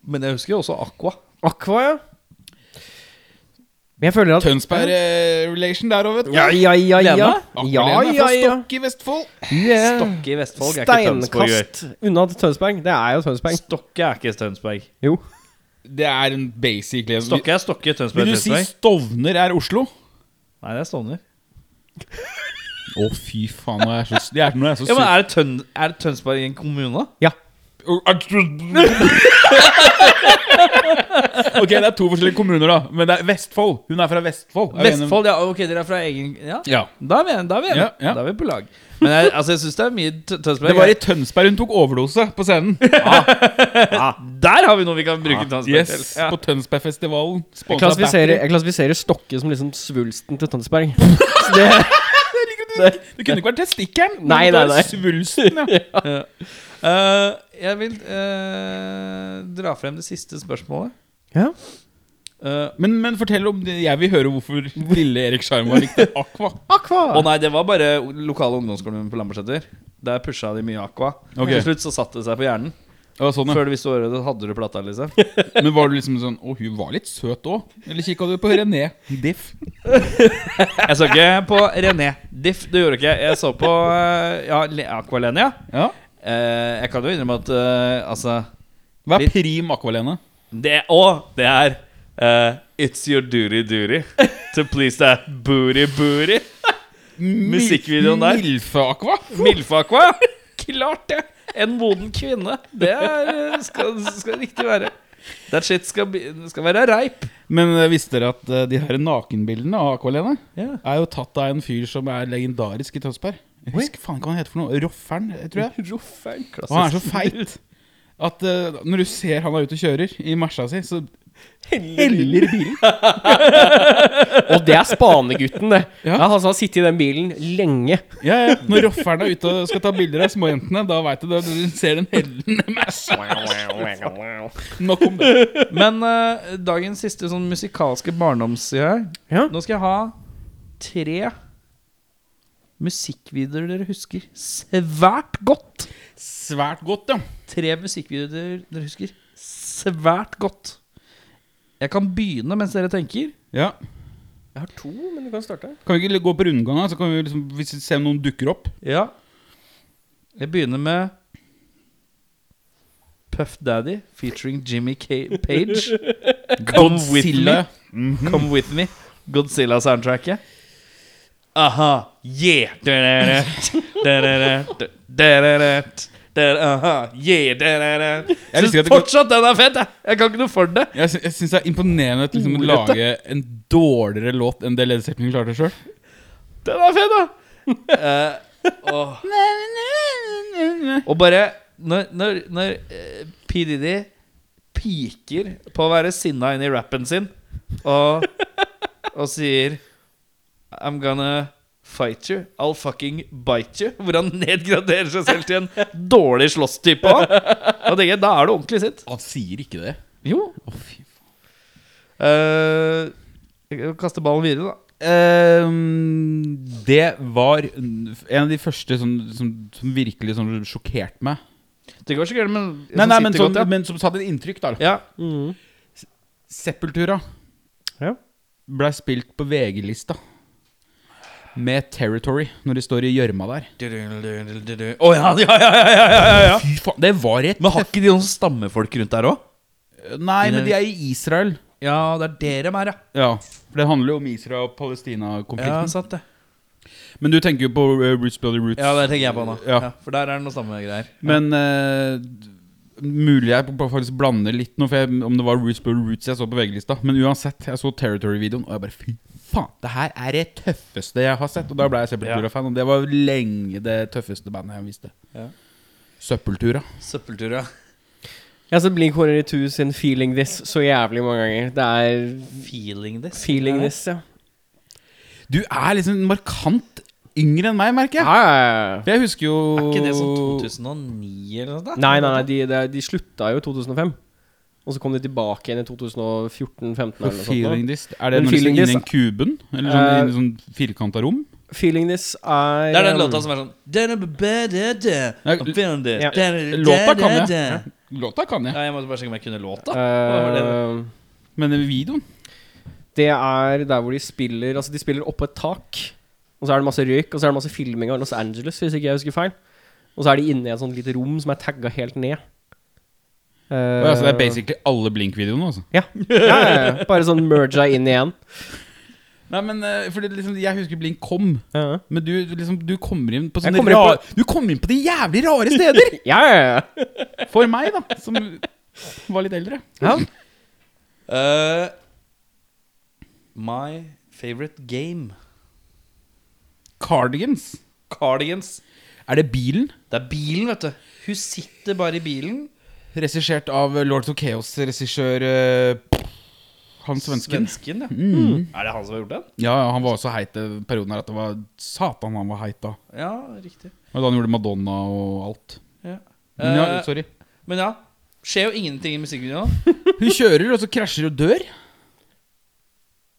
Men jeg husker jo også Aqua.
Aqua, ja. Men jeg føler at
eh, Tønsberg-relation der òg, vet du.
Ja, ja, ja, ja.
Lena?
Ja,
Aqualene er
ja,
fra
ja.
Stokke i Vestfold.
Stokke i Vestfold er ikke Tønsberg. gøy.
Steinkast unna til Tønsberg. Det er jo Tønsberg.
Stokke er ikke Tønsberg.
Jo.
Det er en basic lesning.
Stokke er Stokke, Tønsberg
Vil
er
du si
Tønsberg.
Stovner er Oslo?
Nei, det er Stovner.
Å, fy faen. Nå er jeg så, det er, nå er jeg så
Ja, men er det, Tøn er det Tønsberg i en kommune?
Ok, det er to forskjellige kommuner, da. Men det er Vestfold. Hun er fra Vestfold. Er vi enige om-
Vestfold, ja. Ok, dere er fra egen Ja,
Ja.
da er vi enige. Da er vi, enige.
Ja, ja.
Da er vi på lag. Men jeg, altså, jeg syns det er mye Tø- Tønsberg.
Det var i Tønsberg hun tok overdose på scenen.
Ah, Der har vi noe vi kan bruke Tønsberg til.
Yes,
Ja.
På Tønsbergfestivalen.
Jeg
Sponset av
klassifiserer,
Battery.
jeg klassifiserer Stokke som liksom svulsten til Tønsberg. Så det,
Det kunne ikke vært testikkelen. men
Nei,
det var
nei, nei.
Svulsten, ja.
Eh, jeg vil eh, dra frem det siste spørsmålet.
ja.
Eh,
Men, men fortell om det. Jeg vil høre hvorfor lille Erik Sjarma likte Aqua.
Aqua.
Å nei, det var bare lokale ungdomsskolen på Lambertseter. Der pusha de mye Aqua.
Ok.
Til slutt så satte det seg på hjernen.
Ja, sånn, ja.
Før du visste ordet, da hadde du plata, liksom.
Men var du liksom sånn Å, hun var litt søt òg. Eller kikka du på René Diff?
Jeg så ikke på René Diff, det gjorde ikke jeg. Jeg så på eh, ja, Le- Aqualene, ja.
Ja.
Eh, jeg kan jo innrømme at eh, altså
Hva er
Litt-
prim Aqualene?
Det òg, det er eh, It's your duty duty to please that booty booty. Musikkvideoen der.
Milfe-Aqua?
Milfakva. Klart det! En moden kvinne. Det er, eh, skal, skal riktig være. That shit skal, bli- skal være reip.
Men eh, visste dere at eh, de her nakenbildene av Aqualene
Ja.
er jo tatt av en fyr som er legendarisk i Tønsberg? Jeg husker faen ikke hva han heter for noe. Roffern, eh, tror jeg.
Roffern.
Og han er så feit at eh, når du ser han er ute og kjører i Merca si, så heller bilen.
Og det er spanegutten, det.
Ja.
Ja. han som har sittet i den bilen lenge.
Ja, ja. Når rofferen er ute og skal ta bilder av småjentene, da veit du det. Du ser den hellende Merca. Nok om det.
Men eh, dagens siste sånn musikalske barndomsside her.
Ja.
Nå skal jeg ha tre musikkvideoer dere husker svært godt.
Svært godt, ja.
Tre musikkvideoer dere, dere husker svært godt. Jeg kan begynne mens dere tenker.
ja.
Jeg har to, men du kan starte.
Kan vi ikke gå på rundgang, da? Så kan vi liksom, hvis vi ser om noen dukker opp?
Ja. Jeg begynner med Puff Daddy featuring Jimmy K Page. Come with me.
Godzilla.
Come with me. Godzilla-soundtracket. Aha, yeah Da-da-da, da-da-da, da-da-da, da- Aha, yeah da-da-da.
Jeg
Syns
liker at det går-
fortsatt den er fett, jeg! Jeg kan ikke noe for det.
Jeg, sy jeg syns det er imponerende at liksom, å
Ordrett,
lage en dårligere låt enn det Led Zeppelin klarte sjøl.
Den er fett, da! Eh, åh. Og bare Når, når, når eh, P. Diddy piker på å være sinna inni rappen sin og, og sier I'm gonna fight you. I'll fucking bite you. Hvor han nedgraderer seg selv til en dårlig slåsstype òg. Da tenker jeg, da er det ordentlig sitt.
Han sier ikke det.
Jo.
Å, fy faen.
Eh, jeg kan kaste ballen videre, da.
Ehm, det var en av de første som, som, som virkelig sånn sjokkerte meg.
Det går sikkert, men
Nei, nei, men,
sitter
som,
godt, ja.
men som satte et inntrykk, da.
ja.
Mm.
Sepultura.
Ja.
blei spilt på VG-lista med Territory, når de står i gjørma der.
Å ja, ja, ja, ja, ja, ja, ja.
Fy faen, det var rett
Men har ikke de noen stammefolk rundt der òg?
Nei, men de er i Israel.
Ja, det er det de er, ja.
Ja, for det handler jo om Israel- og
Ja,
Palestina-konflikten.
sant det.
men du tenker jo på eh, Roots Bloody Roots.
Ja, det tenker jeg på nå.
Ja.
Ja, for der er det noe stammegreier.
Men eh, mulig jeg b- faktisk blander litt nå, for jeg, om det var Roots Bloody Roots jeg så på VG-lista. Men uansett, jeg så Territory-videoen, og jeg bare fy faen, det her er det tøffeste jeg har sett. Og da ble jeg Søppeltura-fan, og det var lenge det tøffeste bandet jeg visste.
Ja.
Søppeltura.
Søppeltur, ja.
Jeg har sett Blink 182 sin 'Feeling This' så jævlig mange ganger. Det er
Feeling this.
'Feeling This', ja.
Du er liksom markant yngre enn meg, merker jeg.
Ja, ja, ja.
For jeg husker jo
Er ikke det sånn 2009 eller noe sånt? da?
Nei, nei, nei de, de, de slutta jo i 2005. Og så kom de tilbake igjen i 2014-2015.
På
eller noe sånt nå.
feeling this, er det
Men
når de skal
feeling
inn i
this-
en kuben? Eller sånn,
Eh,
i en sånn firkanta rom?
Feeling This er
Det er den
um,
låta som er sånn
Nei,
I'm feeling this.
ja.
Låta kan jeg. Låta kan jeg,
Ja, jeg måtte bare sjekke om jeg kunne låta. Hva var det?
eh,
men videoen
Det er der hvor de spiller Altså, de spiller oppå et tak. Og så er det masse røyk, og så er det masse filming av Los Angeles, hvis ikke jeg husker feil. Og så er de inne i et sånt lite rom som er tagga helt ned.
Å, ja, så
Eh,
altså, Det er basically alle Blink-videoene, altså.
Ja. ja, ja, ja. Bare sånn merga inn igjen.
Nei, men eh, for det, liksom, Jeg husker Blink kom,
Ja,
men du, liksom, du kommer inn på
Jeg
sånne
kommer inn
rare Du kommer inn på de jævlig rare steder!
ja, ja. ja.
For meg, da, som var litt eldre.
ja.
Eh, my favorite game.
Cardigans.
Cardigans.
Er det bilen?
Det er bilen, vet du. Hun sitter bare i bilen.
Regissert av Lords of Chaos-regissør eh, Han svensken. Mm.
Svensken, ja. Er det han som har gjort den?
Ja, ja, han var så heit den perioden her at det var satan han var heit da.
Ja, riktig.
Og da han gjorde Madonna og alt.
Ja.
Men ja,
Eh,
sorry.
men ja, skjer jo ingenting i musikkvideoen.
Hun kjører, og så krasjer og dør.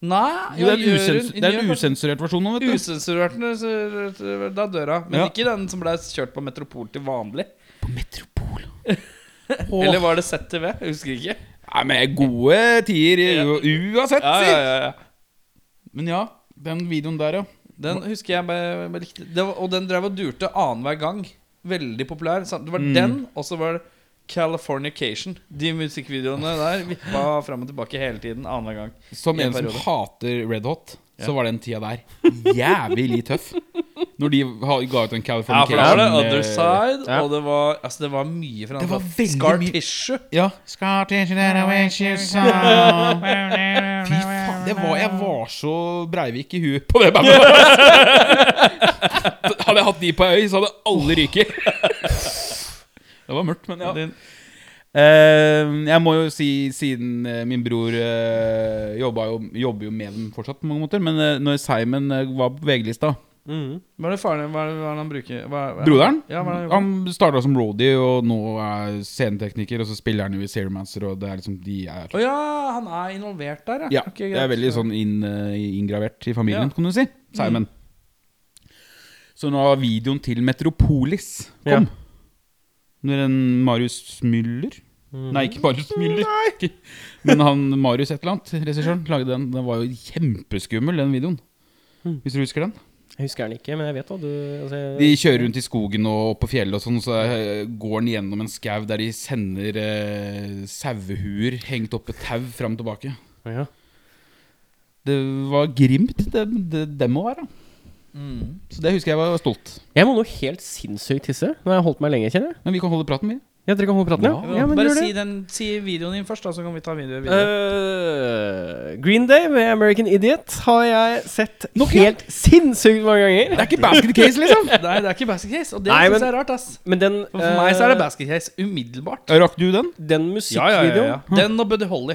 Nei,
Jo, det er en,
gjør hun-
usens
hun
det er
gjør
en usensurert versjon nå, vet du.
Usensurert når så- da døra. Men
Ja.
ikke den som ble kjørt på Metropol til vanlig.
På Metropol.
Eller var det ZTV? Jeg husker ikke.
Nei, men gode tider u- uansett,
Ja,
si!
ja, ja, ja.
Men ja, den videoen der, ja.
Den husker jeg bare, bare likte. Det var, og den drev og durte annenhver gang. Veldig populær. Så Det var den, og så var det Californication. De musikkvideoene der vippa fram og tilbake hele tiden. Annenhver gang.
Som
I en
en som
periode.
hater Red Hot, så var den tida der jævlig tøff. Når de ha- ga ut en
Ja, for da var
Californication
det
eh,
Other Side,
Ja.
og det var, altså, det var mye fra
Det var veldig
Scar
mye-
Tissue.
Ja. Scott, is that a wish you saw? Fy faen, det var, jeg var så Breivik i huet på det bandet. hadde jeg hatt de på ei øy, så hadde alle ryket. det var mørkt, men ja.
Din-
Eh, jeg må jo si, siden eh, min bror eh, jobba jo, jobber jo med dem fortsatt, på mange måter, men eh, når Simon eh, var på VG-lista
Mhm.
Hva er det faren hva er det, hva er det han bruker? Hva, hva,
Broderen?
Ja, hva er det,
Han starta som roadie, og nå er scenetekniker, og så spiller han jo i Seromancer, og det er liksom de er
Å ja, han er involvert der,
Ja,
Ok,
det er
greit.
veldig sånn inn, eh, inngravert i
Ja.
familien,
Mm.
kan du si. Simon. Så nå har videoen til Metropolis
Ja.
kom. Når en Marius Müller
Mm.
Nei, ikke Marius Müller. Men han Marius et eller annet, regissøren, lagde den. Den var jo kjempeskummel, den videoen. Hvis du husker den?
Jeg husker den ikke, men jeg vet hva du altså, jeg-
De kjører rundt i skogen og opp på fjellet og sånn, så eh, går den gjennom en skau der de sender eh, sauehuer hengt opp et tau fram og tilbake.
ja.
Det var grimt, det, det, det må være.
Mm.
Så det husker jeg var stolt.
Jeg må noe helt sinnssykt tisse. Nå har jeg holdt meg lenge, kjenner jeg.
Men vi kan holde praten, vi.
Ja, dere kan holde praten, ja?
Ja,
ja men
Bare
gjør det.
si, den, si videoen din først, da, så kan vi ta video.
Eh,
video.
Øh, Green Day med American Idiot har jeg sett
Nok en?
helt sinnssykt mange ganger.
Det er ikke basket case, liksom!
Nei, det er ikke basket case, og det
Nei,
synes
men-
jeg er rart. ass Eh,
Men den
For, for meg så er det
øh,
basket case umiddelbart.
Rakk du den?
Den musikkvideoen ja,
Den og Buddy Holly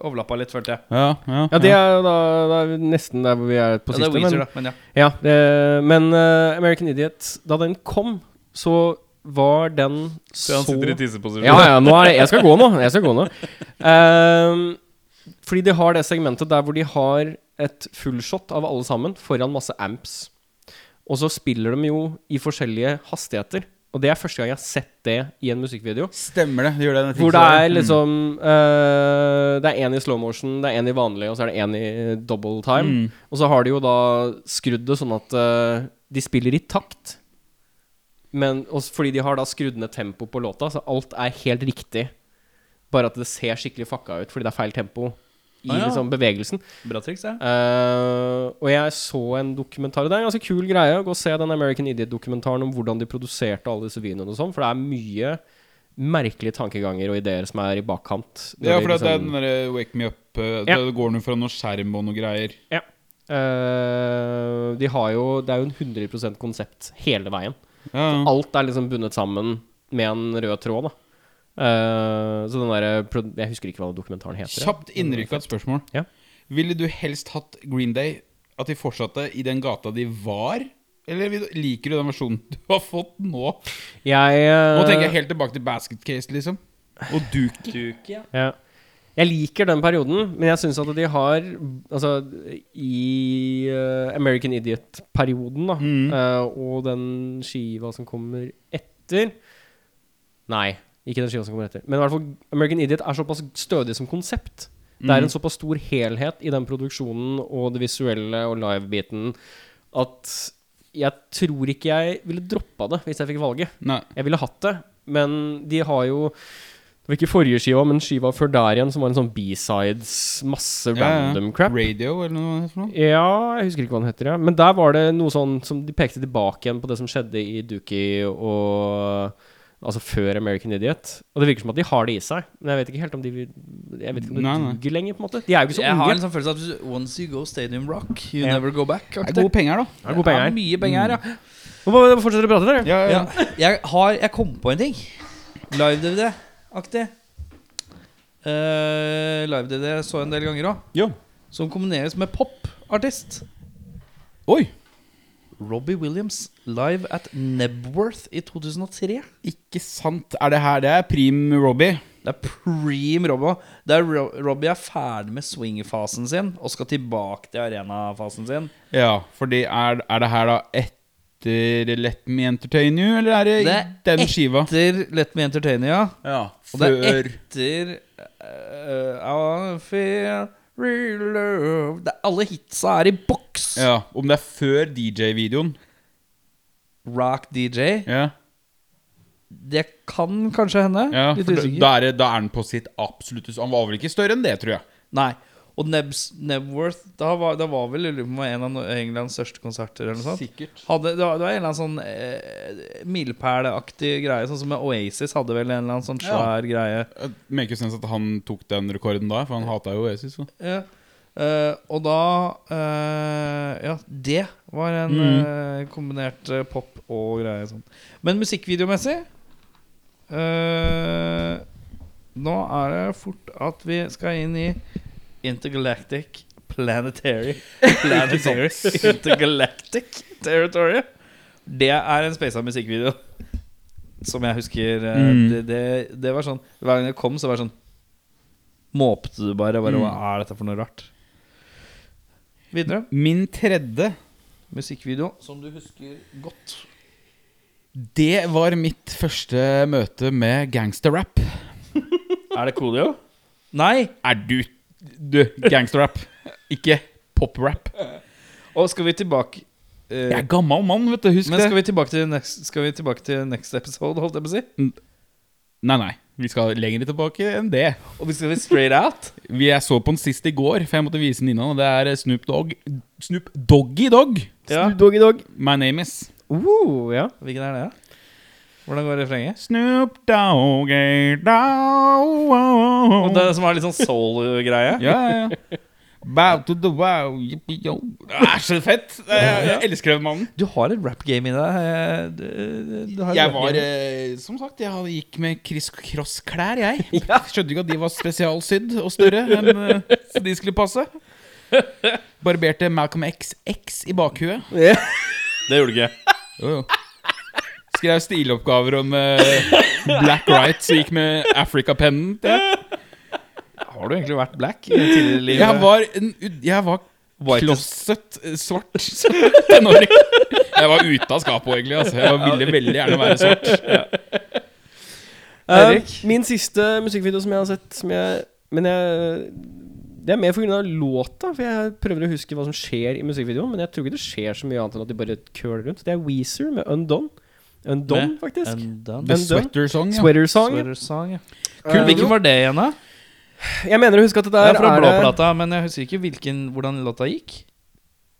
overlappa litt, følte jeg.
Ja. ja,
det er jo da, da er vi nesten der hvor vi er på
Ja, det
siste.
er Weezer,
Men,
da. Men ja.
ja, det, men øh, American Idiot, da den kom, så var den
Så
så
han sitter i tisseposisjon.
Ja, ja, nå er det, jeg skal gå nå. Jeg skal gå nå. Ehm, fordi de har det segmentet der hvor de har et fullshot av alle sammen foran masse amps. Og så spiller de jo i forskjellige hastigheter. Og det er første gang jeg har sett det i en musikkvideo.
Stemmer det. det gjør det den
Hvor det
tidsåret.
er liksom eh, Det er én i slow motion, det er én i vanlig, og så er det én i double time. Og så har de jo da skrudd det sånn at eh, de spiller i takt. Men også fordi de har da skrudd ned tempoet på låta, så alt er helt riktig. Bare at det ser skikkelig fucka ut fordi det er feil tempo i
Ah, ja.
liksom bevegelsen.
Bra triks, ja.
Eh, og jeg så en dokumentar Det er en ganske kul greie å gå og se den American Idiot-dokumentaren om hvordan de produserte alle disse videoene og sånn, for det er mye merkelige tankeganger og ideer som er i bakkant. når
Ja,
de
for det, sånn- det
liksom-
er den derre Wake Me Up
Ja.
eh, Da går den jo fra noe skjerm og noe greier.
Ja. Eh, de har jo Det er jo en 100 konsept hele veien.
Ja, ja.
Alt er liksom bundet sammen med en rød tråd, da. Eh, så den derre pro- Jeg husker ikke hva dokumentaren heter.
Kjapt innrykk av et spørsmål.
Ja.
Ville du helst hatt Green Day at de fortsatte i den gata de var? Eller vil du- liker du den versjonen du har fått nå?
Jeg eh,
Nå tenker jeg helt tilbake til Basket Case, liksom. Og Duke.
Ja. Jeg liker den perioden, men jeg syns at de har Altså, i eh, American Idiot-perioden, da, eh, og den skiva som kommer etter Nei, ikke den skiva som kommer etter. Men i hvert fall American Idiot er såpass stødig som konsept. Det er en såpass stor helhet i den produksjonen og det visuelle og live-biten at jeg tror ikke jeg ville droppa det hvis jeg fikk valget.
Nei.
Jeg ville hatt det, men de har jo Det var ikke forrige skiva, men skiva før der igjen, som var en sånn B-sides, masse
Ja, ja.
random crap.
Radio, eller noe sånt? for noe?
Ja, jeg husker ikke hva den heter, ja. men der var det noe sånn som de pekte tilbake igjen på det som skjedde i Dookie og Altså før American Idiot. Og det virker som at de har det i seg, men jeg vet ikke helt om de vil- Jeg vet ikke om det
Nei, nei.
duger lenger, på en måte. De er jo ikke så
Jeg har en
unge.
sånn følelse av at once you go stadium rock, you
Ja.
never go back.
Det
aktig.
er gode penger, da.
Det er gode penger
Det
her.
er mye penger her, ja.
Nå må vi fortsette å prate, dere.
Ja, ja.
Ja. Jeg, har, jeg kom på en ting. Live-DVD-aktig. Eh, Live-DVD jeg så en del ganger òg.
Ja.
Som kombineres med popartist.
Oi!
Robbie Williams live at Nebworth i 2003.
Ikke sant. Er det her Det er prim Robbie.
Det er preem Robbie. Der Ro- Robbie er ferdig med swing-fasen sin og skal tilbake til arena-fasen sin.
Ja, fordi er, er det her da etter Let Me Entertain You, eller er det, i
Det er
den skiva?
Etter Let Me Entertain You.
Ja,
Og det er
før
etter uh, I feel real love det, er- Alle hitsa er i boks!
ja, Om det er før DJ-videoen.
Rock DJ.
Ja,
Det kan kanskje hende.
ja
Litt
for da,
usikker.
da, er det, da er den på sitt absolutte Han var vel ikke større enn det, tror jeg.
Nei. Og Nebs, Nebworth Da var, da var vel jeg lurer på om det var en av no- Englands største konserter. Eller noe sånt.
Sikkert
Hadde, det, var, det var en eller annen sånn eh, milepælaktig greie. Sånn som med Oasis hadde vel en eller annen sånn svær greie.
Maker Eh, sense at han tok den rekorden da, for han hata jo Oasis. Så.
Ja. Eh, og da eh, Ja, det var en eh, kombinert eh, pop og greie sånn. Men musikkvideomessig eh, Nå er det fort at vi skal inn i Intergalactic Planetary Planetary Intergalactic Territory. Det er en spasa musikkvideo. Som jeg husker eh,
Mm.
det, det, det var sånn Hver gang jeg kom, så var det sånn Måpte du bare? bare
Mm.
Hva er dette for noe rart? Videre.
Min tredje,
Musikkvideo som du husker godt.
det var mitt første møte med gangsterrap.
Er det Coolio? Nei!
Er du Du, gangsterrap. Ikke poprap.
Og skal vi tilbake eh,
Jeg er gammel mann, vet du. Husk
Men skal
det.
vi tilbake, til next, skal vi tilbake til next episode, holdt jeg på å si?
Nei, nei. Vi skal lenger tilbake enn det.
Og vi skal vi straight out?
Vi- Jeg så på den sist i går, for jeg måtte vise den innan. Og det er eh, Snoop Dogg. Snoop Doggy Dogg.
Ja.
Doggy dog.
My name is
Uh, ja.
Hvilken er det? da? Hvordan går refrenget?
Snoop Doggy Dogg.
Og det som har litt sånn soul-greie?
Ja, ja, ja. Bow to the wow. yippee, yo. Det er så fett! Det er- Jeg elsker den mannen.
Du har et rap-game i deg. eh, Du, du- du har et
Jeg
rap-game.
var, eh, som sagt, jeg hadde- gikk med criss-cross-klær, jeg. Skjønte ikke at de var spesialsydd og større enn eh, så de skulle passe. Barberte Malcolm XX i bakhuet.
Det gjorde du ikke.
Jo, jo. Skrev stiloppgaver om eh, black rights og gikk med Africa-pennen. til.
Har du egentlig vært black i tidligere liv?
Jeg var, en, ut- jeg var
White is-
Klosset eh, svart tenåring. Jeg var ute av skapet egentlig. Altså. Jeg ville veldig gjerne være svart.
Erik?
Eh, min siste musikkvideo som jeg har sett, som jeg Men jeg Det er mer pga. låta, for jeg prøver å huske hva som skjer i musikkvideoen, men jeg tror ikke det skjer så mye annet enn at de bare køler rundt. Det er Weezer med Undone. Undone,
Med
faktisk.
Undone.
The
Undone.
Sweater Song. Ja.
Sweater Song.
Sweater Eh, Song, eh, ja.
Kul video.
Hvilken var det igjen, da?
Jeg mener å huske at det
Det
der
er fra
er det-
blåplata, men jeg husker ikke hvilken, hvordan låta gikk.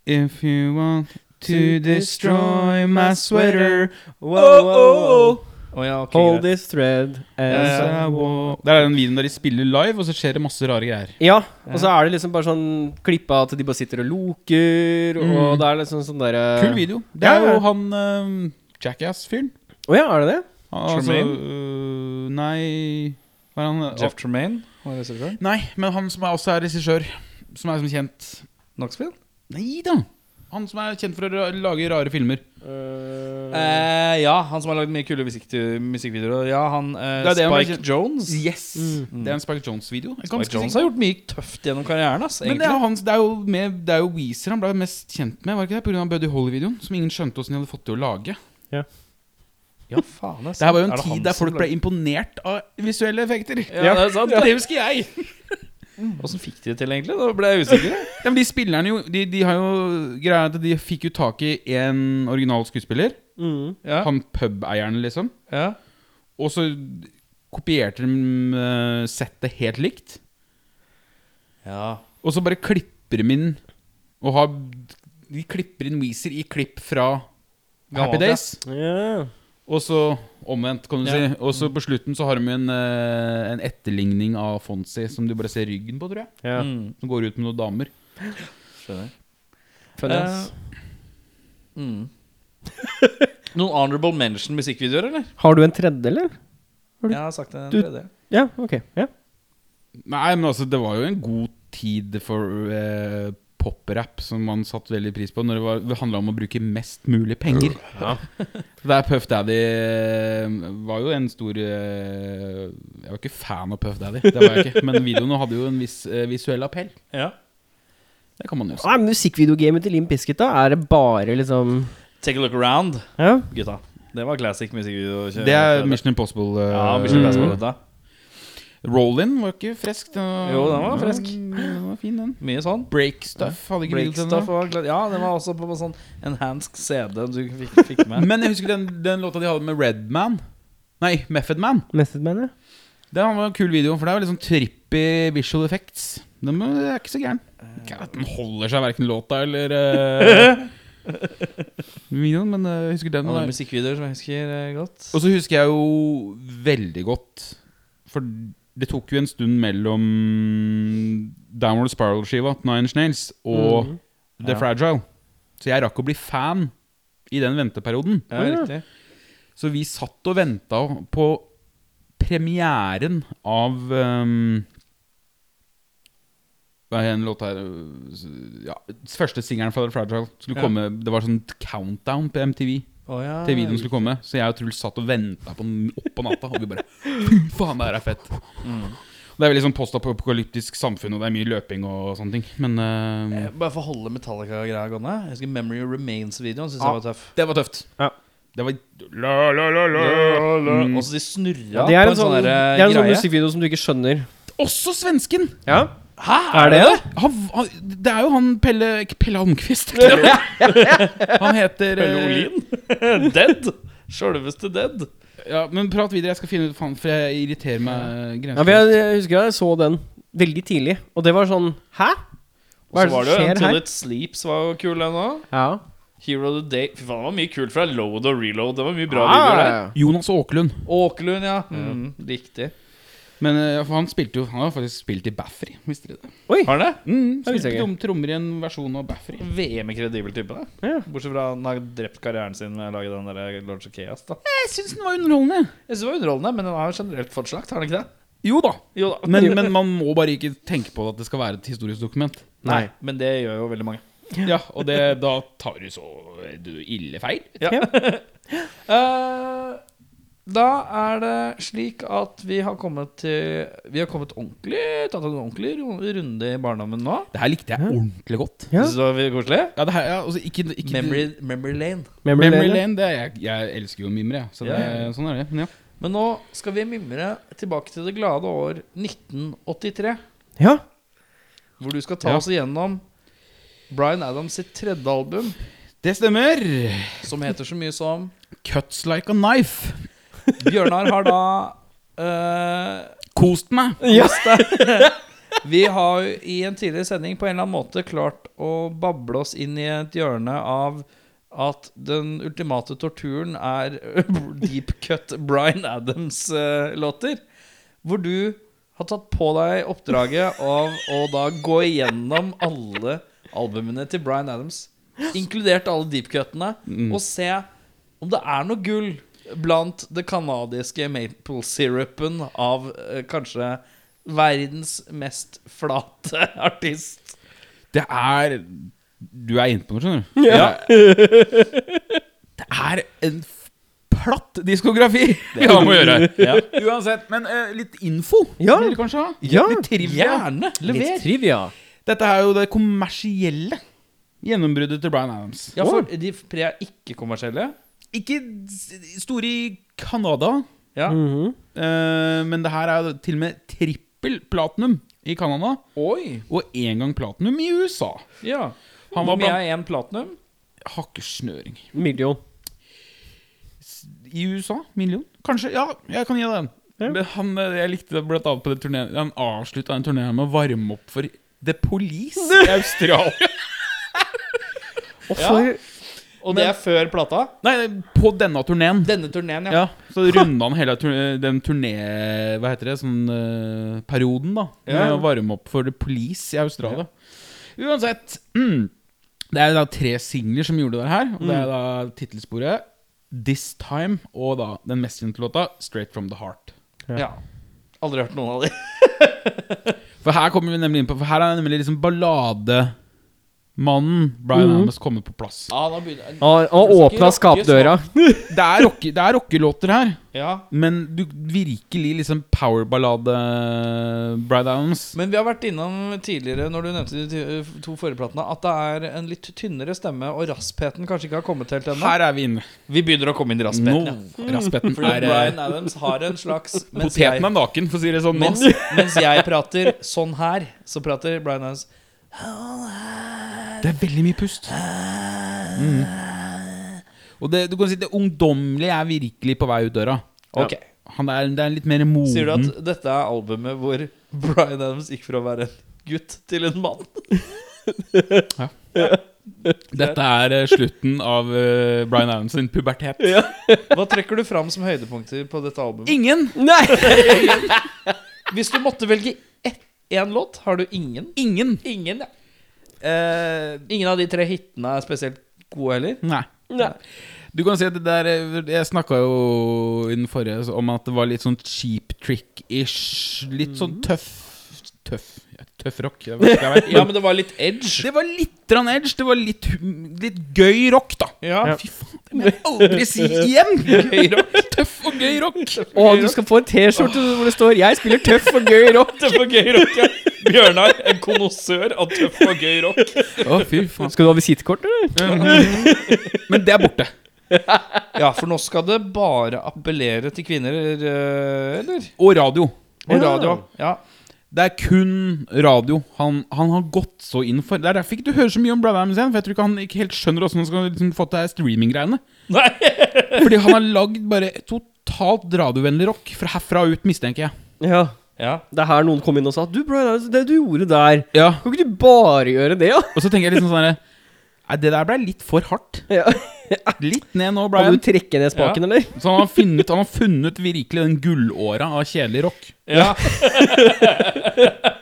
If you want to destroy my sweater
Wow, wow, wow.
Å ja, ok,
Hold
greit.
this thread eh,
Ja,
as
ja.
I walk
Der er den videoen der de spiller live, og så skjer det masse rare greier.
Ja, og så er det liksom bare sånn klippa at de bare sitter og loker, og
Mm.
det er liksom sånn derre
Kul video. Det
Ja,
er
ja.
jo han eh, Jackass-fyren.
Å ja, er det det?
Altså,
Tremaine?
øh, nei Hva er han
Jeff Tremaine var regissøren.
Nei, men han som er også er regissør. Som er som kjent
Knoxville?
Nei da! Han som er kjent for å ra- lage rare filmer.
Eh, ja, han som har lagd mye kule musikk- musikkvideoer. Ja, han eh,
Det er det han
Spike
var kjent-
Jones.
Yes! Mm. Det er en Spike Jones-video. Jeg er ganske
Spike Jones
sikker.
har gjort mye tøft gjennom karrieren. ass,
Men det er,
egentlig.
jo hans, det, er jo med, det er jo Weezer han ble mest kjent med, var ikke det? Pga. Buddy Holly-videoen, som ingen skjønte åssen de hadde fått til å lage.
Ja, faen, ass.
Det her var jo
Er
en
det han
tid der
som
folk ble imponert av visuelle effekter.
ja, det er sant. Det husker jeg. Åssen fikk de det til, egentlig? Da ble jeg usikker.
Ja, men de spillerne jo De, de har jo greia er at de fikk jo tak i en original skuespiller.
Mm.
Ja,
Han pubeieren, liksom.
ja.
Og så kopierte de eh, settet helt likt.
ja.
Og så bare klipper de inn Og har De klipper inn Weezer i klipp fra
Gammelt,
Happy Days.
Ja.
Og så omvendt, kan du si. Og så på slutten så har de jo en, eh, en etterligning av Fonzie som du bare ser ryggen på, tror jeg.
Ja.
Mm,
Som går ut med noen damer.
skjønner.
Funny,
Eh,
ass.
Mm. Noen honorable mention musikkvideoer, eller?
Har du en tredje, eller?
Jeg har sagt det.
Du-
det.
Ja, ok. Ja.
Nei, men altså, det var jo en god tid for eh, poprap som man satte veldig pris på, når det, var- det handla om å bruke mest mulig penger. Der Puff Daddy eh, var jo en stor eh, Jeg var ikke fan av Puff Daddy, det var jeg ikke. Men videoene hadde jo en viss eh, visuell appell.
Ja.
Det kan man jo si.
Nei, musikkvideogamet til Lim Biscuit, da? Er det bare liksom
Take a look around,
Ja?
gutta. Det var classic musikkvideo.
Det er Mission Impossible. eh,
Ja, Mission Impossible,
eh,
dette.
Roll-in var ikke fresk. den-
Jo, den var fresk.
Ja, den var fin, den.
Mye sånn.
Break-stuff hadde ikke video til den.
Breakstuff
da.
var glad- Ja, den var også på en sånn enhanced CD du fikk, fikk med.
Men jeg husker den, den låta de hadde med Redman. Nei, Method Man.
Method Man, ja.
Den var en kul video, for det er jo litt sånn trippy visual effects. Den må- det er ikke så gæren.
Eh.
Ikke at den holder seg verken låta eller eh, videoen, men eh, jeg husker den.
Og
da.
noen musikkvideoer som jeg husker eh, godt.
Og så husker jeg jo veldig godt For det tok jo en stund mellom Downward Spiral-skiva til Nine Inch Nails og
Mhm.
The
Ja.
Fragile. Så jeg rakk å bli fan i den venteperioden.
Ja, riktig.
Så vi satt og venta på premieren av um, Hva er en låt her uh, ja, Første singelen fra The Fragile skulle
Ja.
komme Det var sånn countdown på MTV
Å, ja.
til videoen skulle komme. Så jeg og Truls satt og venta på den opp på natta, og vi bare Fy faen, det her er fett. Det er veldig sånn postapokalyptisk samfunn, og det er mye løping og sånne ting. Men eh,
Eh, Bare for å holde Metallica-greia gående. Jeg husker Memory Remains-videoen. Synes
Ja.
jeg var tøff
det var tøft.
Ja.
Det var la, la, la, la.
Mm. Også de snurra
det er
på
en sånn, det
der, eh,
er en sånn
greie.
musikkvideo som du ikke skjønner.
Også svensken!
Ja?
Hæ?
Er det det?
Han, han, det er jo han Pelle ikke Pelle Almqvist. han heter eh,
Pelle Olin? dead? Sjølveste Dead.
Ja, men prat videre, jeg skal finne ut faen, for jeg irriterer meg
ja for jeg, jeg husker jeg så den veldig tidlig, og det var sånn Hæ? Hva
Og
er
så
det som
var det jo sånn
skjer
Until
her?
It Sleeps var jo kul, den òg.
Ja.
Hero of the Day. Fy faen, det var mye kult fra Load og Reload. Det var mye bra videoer der.
Ah,
Jonas Aaklund.
Åkerlund, ja. Mm, riktig.
Men eh, for han spilte jo Han har faktisk spilt i Baffrey, visste dere det?
Har han det?
Mm,
Det visste
spilte
jeg
tom- trommer i en versjon av Baffrey.
VM-kredibel type, da.
Ja.
Bortsett fra han har drept karrieren sin med å lage den der eh, Lords of Chaos. da Jeg
Jeg syns den var underholdende.
synes det var underholdende, men den har jo generelt fått slakt, har den ikke det?
Jo da.
Jo da.
Men, men man må bare ikke tenke på at det skal være et historisk dokument.
Nei.
Men det gjør jo veldig mange.
Ja, Og det, da tar du så du ille feil.
Eh, Da er det slik at vi har kommet til Vi har kommet ordentlig tatt en ordentlig ru- runde i barndommen nå.
Det her likte jeg ordentlig godt.
Ja.
Så er vi koselig.
Ja, det her, ja, altså, ikke, ikke,
Memory, memory lane.
Memory,
Memory
Lane.
Lane. Det er, jeg, jeg elsker jo å mimre, jeg. Så det,
Ja.
sånn er det. Men ja.
Men nå skal vi mimre tilbake til det glade år 1983.
Ja.
Hvor du skal ta
Ja.
oss igjennom Bryan Adams sitt tredje album,
Det stemmer.
som heter så mye som
Cuts like a knife.
Bjørnar har da eh,
Kost meg.
Vi har jo i en tidligere sending på en eller annen måte klart å bable oss inn i et hjørne av at den ultimate torturen er deep cut Bryan Adams-låter. Hvor du har tatt på deg oppdraget av å da gå igjennom alle albumene til Bryan Adams, inkludert alle deep cutene,
Mm.
og se om det er noe gull blant det kanadiske maple syrupen av eh, kanskje verdens mest flate artist.
Det er Du er inne på noe, skjønner du. Det er en f- platt diskografi vi har med å gjøre. Uansett. Men eh, litt info
Ja.
vil du kanskje ha?
Ja.
Litt trivia.
Gjerne!
Litt
Lever!
trivia.
Dette er jo det kommersielle gjennombruddet til Bryan Adams.
Ja, for de pre er ikke-kommersielle.
Ikke s- store i Canada,
Ja.
eh, men det her er jo til og med trippel platinum i Canada.
Oi!
Og én gang platinum i USA.
Ja.
Han
Han
var
var med én platinum.
Hakkesnøring.
Million.
I USA? Million? Kanskje? Ja, jeg kan gi deg den. Men han, eh, jeg likte det blant annet på den turnéen Han avslutta den turneen med å varme opp for The Police i Australia.
Og for
Og det er før plata?
Nei, på denne turneen.
Denne turneen, ja.
Ja, så runda han hele turné, den turné... Hva heter det? Sånn eh, perioden, da. Med
Ja.
å varme opp for The Police i Australia. Uansett. Mm, det er da tre singler som gjorde det her. Og det er da tittelsporet This Time og da den mest kjente låta Straight From The Heart.
ja. Aldri hørt noen av de.
For her kommer vi nemlig inn på For her er nemlig liksom ballademannen Bryan Adams kommet på plass.
Ja, han har begynt
Han har åpna skapdøra.
Det er rocke- det er rockelåter her,
Ja.
men du virkelig liksom powerballade Bryan Adams.
Men vi har vært innom tidligere når du nevnte de ty- to forrige platene, at det er en litt tynnere stemme, og raspheten kanskje ikke har kommet helt ennå.
Her er vi inne.
Vi begynner å komme inn i
Nå,
raspheten. ja.
Raspetten
Fordi
er eh,
Bryan Adams har en slags mens jeg,
Poteten er naken, for å si det sånn.
mens,
Nå.
mens jeg prater sånn her, så prater Bryan Adams
Det er veldig mye pust. Mm. Og det, du kan si det ungdommelige er virkelig på vei ut døra.
Ok.
Han er, det er litt mer moden.
Sier du at dette er albumet hvor Bryan Adams gikk fra å være en gutt til en mann?
Dette er eh, slutten av eh, Bryan Adams sin pubertet.
Hva trekker du fram som høydepunkter på dette albumet?
Ingen!
Hvis du måtte velge ett- én låt, har du ingen? Eh,
Ingen!
Ingen, ja. ingen av de tre hitene er spesielt gode heller.
Nei. Du kan si at det der eh, Jeg snakka jo i den forrige så- om at det var litt sånn cheap trick-ish. Litt sånn tøff Tøff ja, Tøff rock. Jeg vet ikke hva jeg vet.
Ja, men det var litt edge.
Det var litt grann edge. Det var litt, hum- litt gøy rock, da.
Ja,
Fy faen, det må jeg aldri si igjen!
Gøy rock.
Tøff og gøy rock.
Å, du skal få en T-skjorte hvor det står 'Jeg spiller tøff og gøy rock'.
Det var gøy rock, ja.
Bjørnar, en konnoissør av tøff og gøy rock.
Å, fy faen.
Skal du ha visittkort, eller?
Men det er borte.
Ja, for nå skal det bare appellere til kvinner, eh, eller?
Og radio.
Og radio. Ja.
Det er kun radio han, han har gått så inn for. Det er derfor ikke du hører så mye om Brad Adams igjen. For jeg tror ikke han ikke helt skjønner hvordan han skal liksom få til de streaminggreiene. Fordi han har lagd bare totalt radiovennlig rock fra herfra og ut, mistenker jeg.
Ja.
ja.
Det er her noen kom inn og sa 'Du, bro, det du gjorde der
Ja
Kan ikke du bare gjøre det, da?'
Og så tenker jeg liksom sånn herre, Nei, det der ble litt for hardt.
Ja.
Litt ned nå,
Kan
Brian.
du trekke ned spaken, eller?
Så han har funnet, han har funnet virkelig den gullåra av kjedelig rock.
Ja.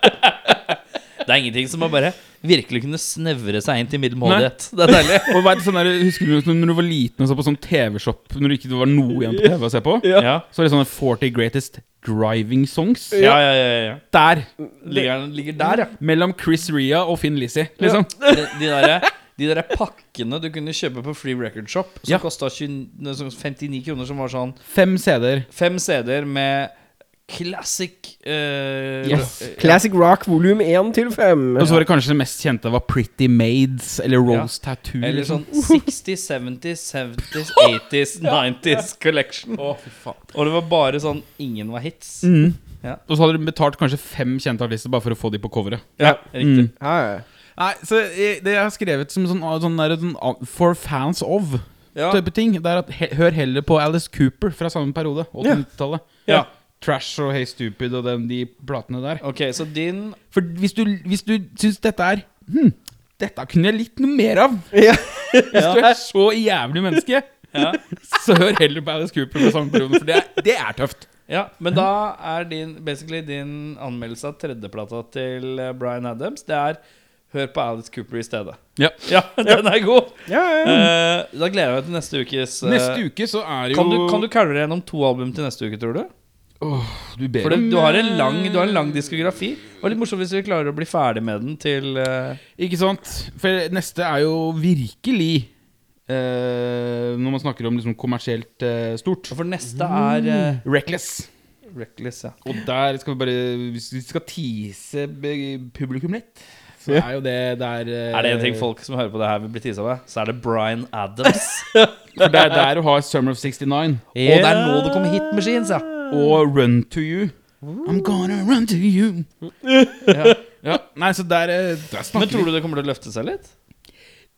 det er ingenting som å bare virkelig kunne snevre seg inn til middelmådighet. Det er deilig.
Og vet, du, sånn der, Husker du når du var liten og så på sånn TV-shop når det ikke var noe igjen på TV å se på?
Ja.
Så var det sånne 40 Greatest Driving Songs.
Ja, ja, ja, ja.
Der!
Ligger, den ligger der, ja.
Mellom Chris Ria og Finn Lizzie, liksom.
De, de derre De der pakkene du kunne kjøpe på Free Record Shop, som
Ja.
kosta 29 som 59 kroner, som var sånn
Fem CD-er.
fem CD-er med classic eh,
Yes.
eh,
Classic Rock volum 1 til 5.
Og så var det kanskje det mest kjente var Pretty Maids eller Rose Tattoo. liksom.
Eller sånn 60, 70, 70s, 80s, 90s collection. Og det var bare sånn Ingen var hits.
Mm.
Ja.
Og så hadde de betalt kanskje fem kjente artister bare for å få de på coveret.
Ja,
Mm.
riktig.
Ja, ja.
Nei, så jeg- Det jeg har skrevet som sånn, sånn, der, sånn ah, for fans of
Ja.
type ting, det er at he, hør heller på Alice Cooper fra samme periode, 80-tallet.
Ja.
Trash og Hey Stupid og den, de platene der.
Ok, så din
For hvis du, hvis du syns dette er hm, Dette kunne jeg litt noe mer av!
Ja.
Hvis du er så jævlig menneske,
Ja.
så hør heller på Alice Cooper fra samme periode, for det er, det er tøft.
Ja, men da er din basically din anmeldelse av tredjeplata til eh, Bryan Adams, det er Hør på Alice Cooper i stedet.
Ja.
Ja, den er god!
Ja, ja.
Eh, da gleder jeg meg til neste ukes eh,
Neste uke så er jo
Kan du, kan du kalve gjennom to album til neste uke, tror du?
du ber
For det,
om,
du, har en
eh,
lang, du har en lang diskografi. Det var litt morsomt hvis vi klarer å bli ferdig med den til eh,
Ikke sant? For neste er jo virkelig eh, Når man snakker om liksom kommersielt eh, stort.
For neste er eh,
Reckless.
Reckless, ja.
Og der skal vi bare Hvis vi skal tease be- publikum litt, så er jo det der eh,
Er det en ting folk som hører på det her vil bli tisa med, så er det Bryan Adams.
For det er der du har Summer of 69
Og det er nå det kommer hit machines, ja.
og Run to You. I'm gonna run to you.
ja.
Ja, Nei, så der, eh, der
Men
snakker vi
tror du det kommer til å løfte seg litt?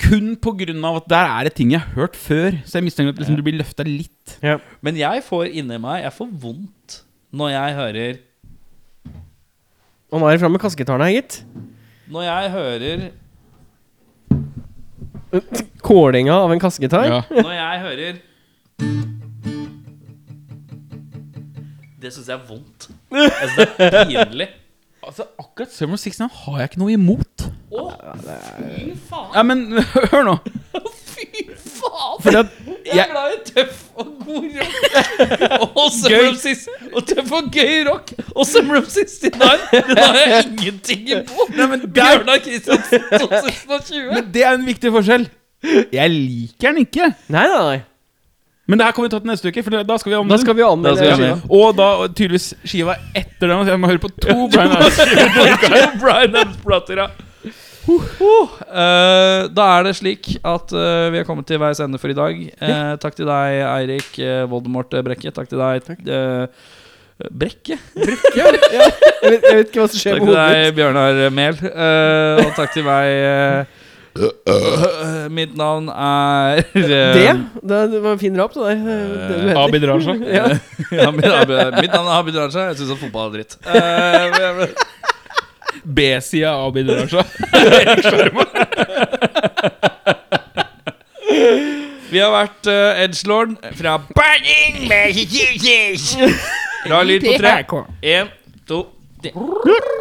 kun på grunn av at der er det ting jeg har hørt før. Så jeg mistenker at liksom, du blir løfta litt.
Men jeg får inni meg Jeg får vondt når jeg hører
Og nå er det fram med kassegitaren her, gitt.
Når jeg hører
Kålinga av en kassegitar.
Ja.
Når jeg hører Det syns jeg er vondt. Jeg synes det er pinlig.
Altså, akkurat Summer of 69 har jeg ikke noe imot.
Å, fy faen!
Ja, men hør nå.
Fy faen!
Fordi at
Jeg er glad i tøff og god rock. Og Summer of 69 Og tøff og gøy rock. Og Summer of 69. Den har jeg ingenting imot. Bjørnar Kristiansen 2020.
Men det er en viktig forskjell. Jeg liker den ikke.
Nei, nei, nei.
Men det her kommer vi ta til neste uke, for da skal vi
Da
anmelde
skal vi
Da skal
anmelde
vi
skiva.
anmelde.
Og da og tydeligvis skiva etter den. Så jeg må høre på to Brian Adams.
Brian Adams-plater, ja. Eh, da er det slik at eh, vi har kommet til veis ende for i dag. Eh, Takk til deg, Eirik eh, Voldemort eh, Brekke. Takk til deg, eh, Brekke.
Jeg vet, jeg vet ikke hva som skjer med
Takk til
hodet
deg, Bjørnar Mehl. Eh, og takk til meg eh, eh, Mitt navn er eh,
Det? Det, det var en fin rap, det der. Det, det du heter.
Eh, Abid Raja.
ja, mitt, mitt navn er Habid Raja. Jeg syns at fotball er dritt. Eh,
B-sida av Abid Raja.
vi har vært eh, Edgelord fra
Burning Massachusetts.
Fra lyd på tre. Én, to, tre.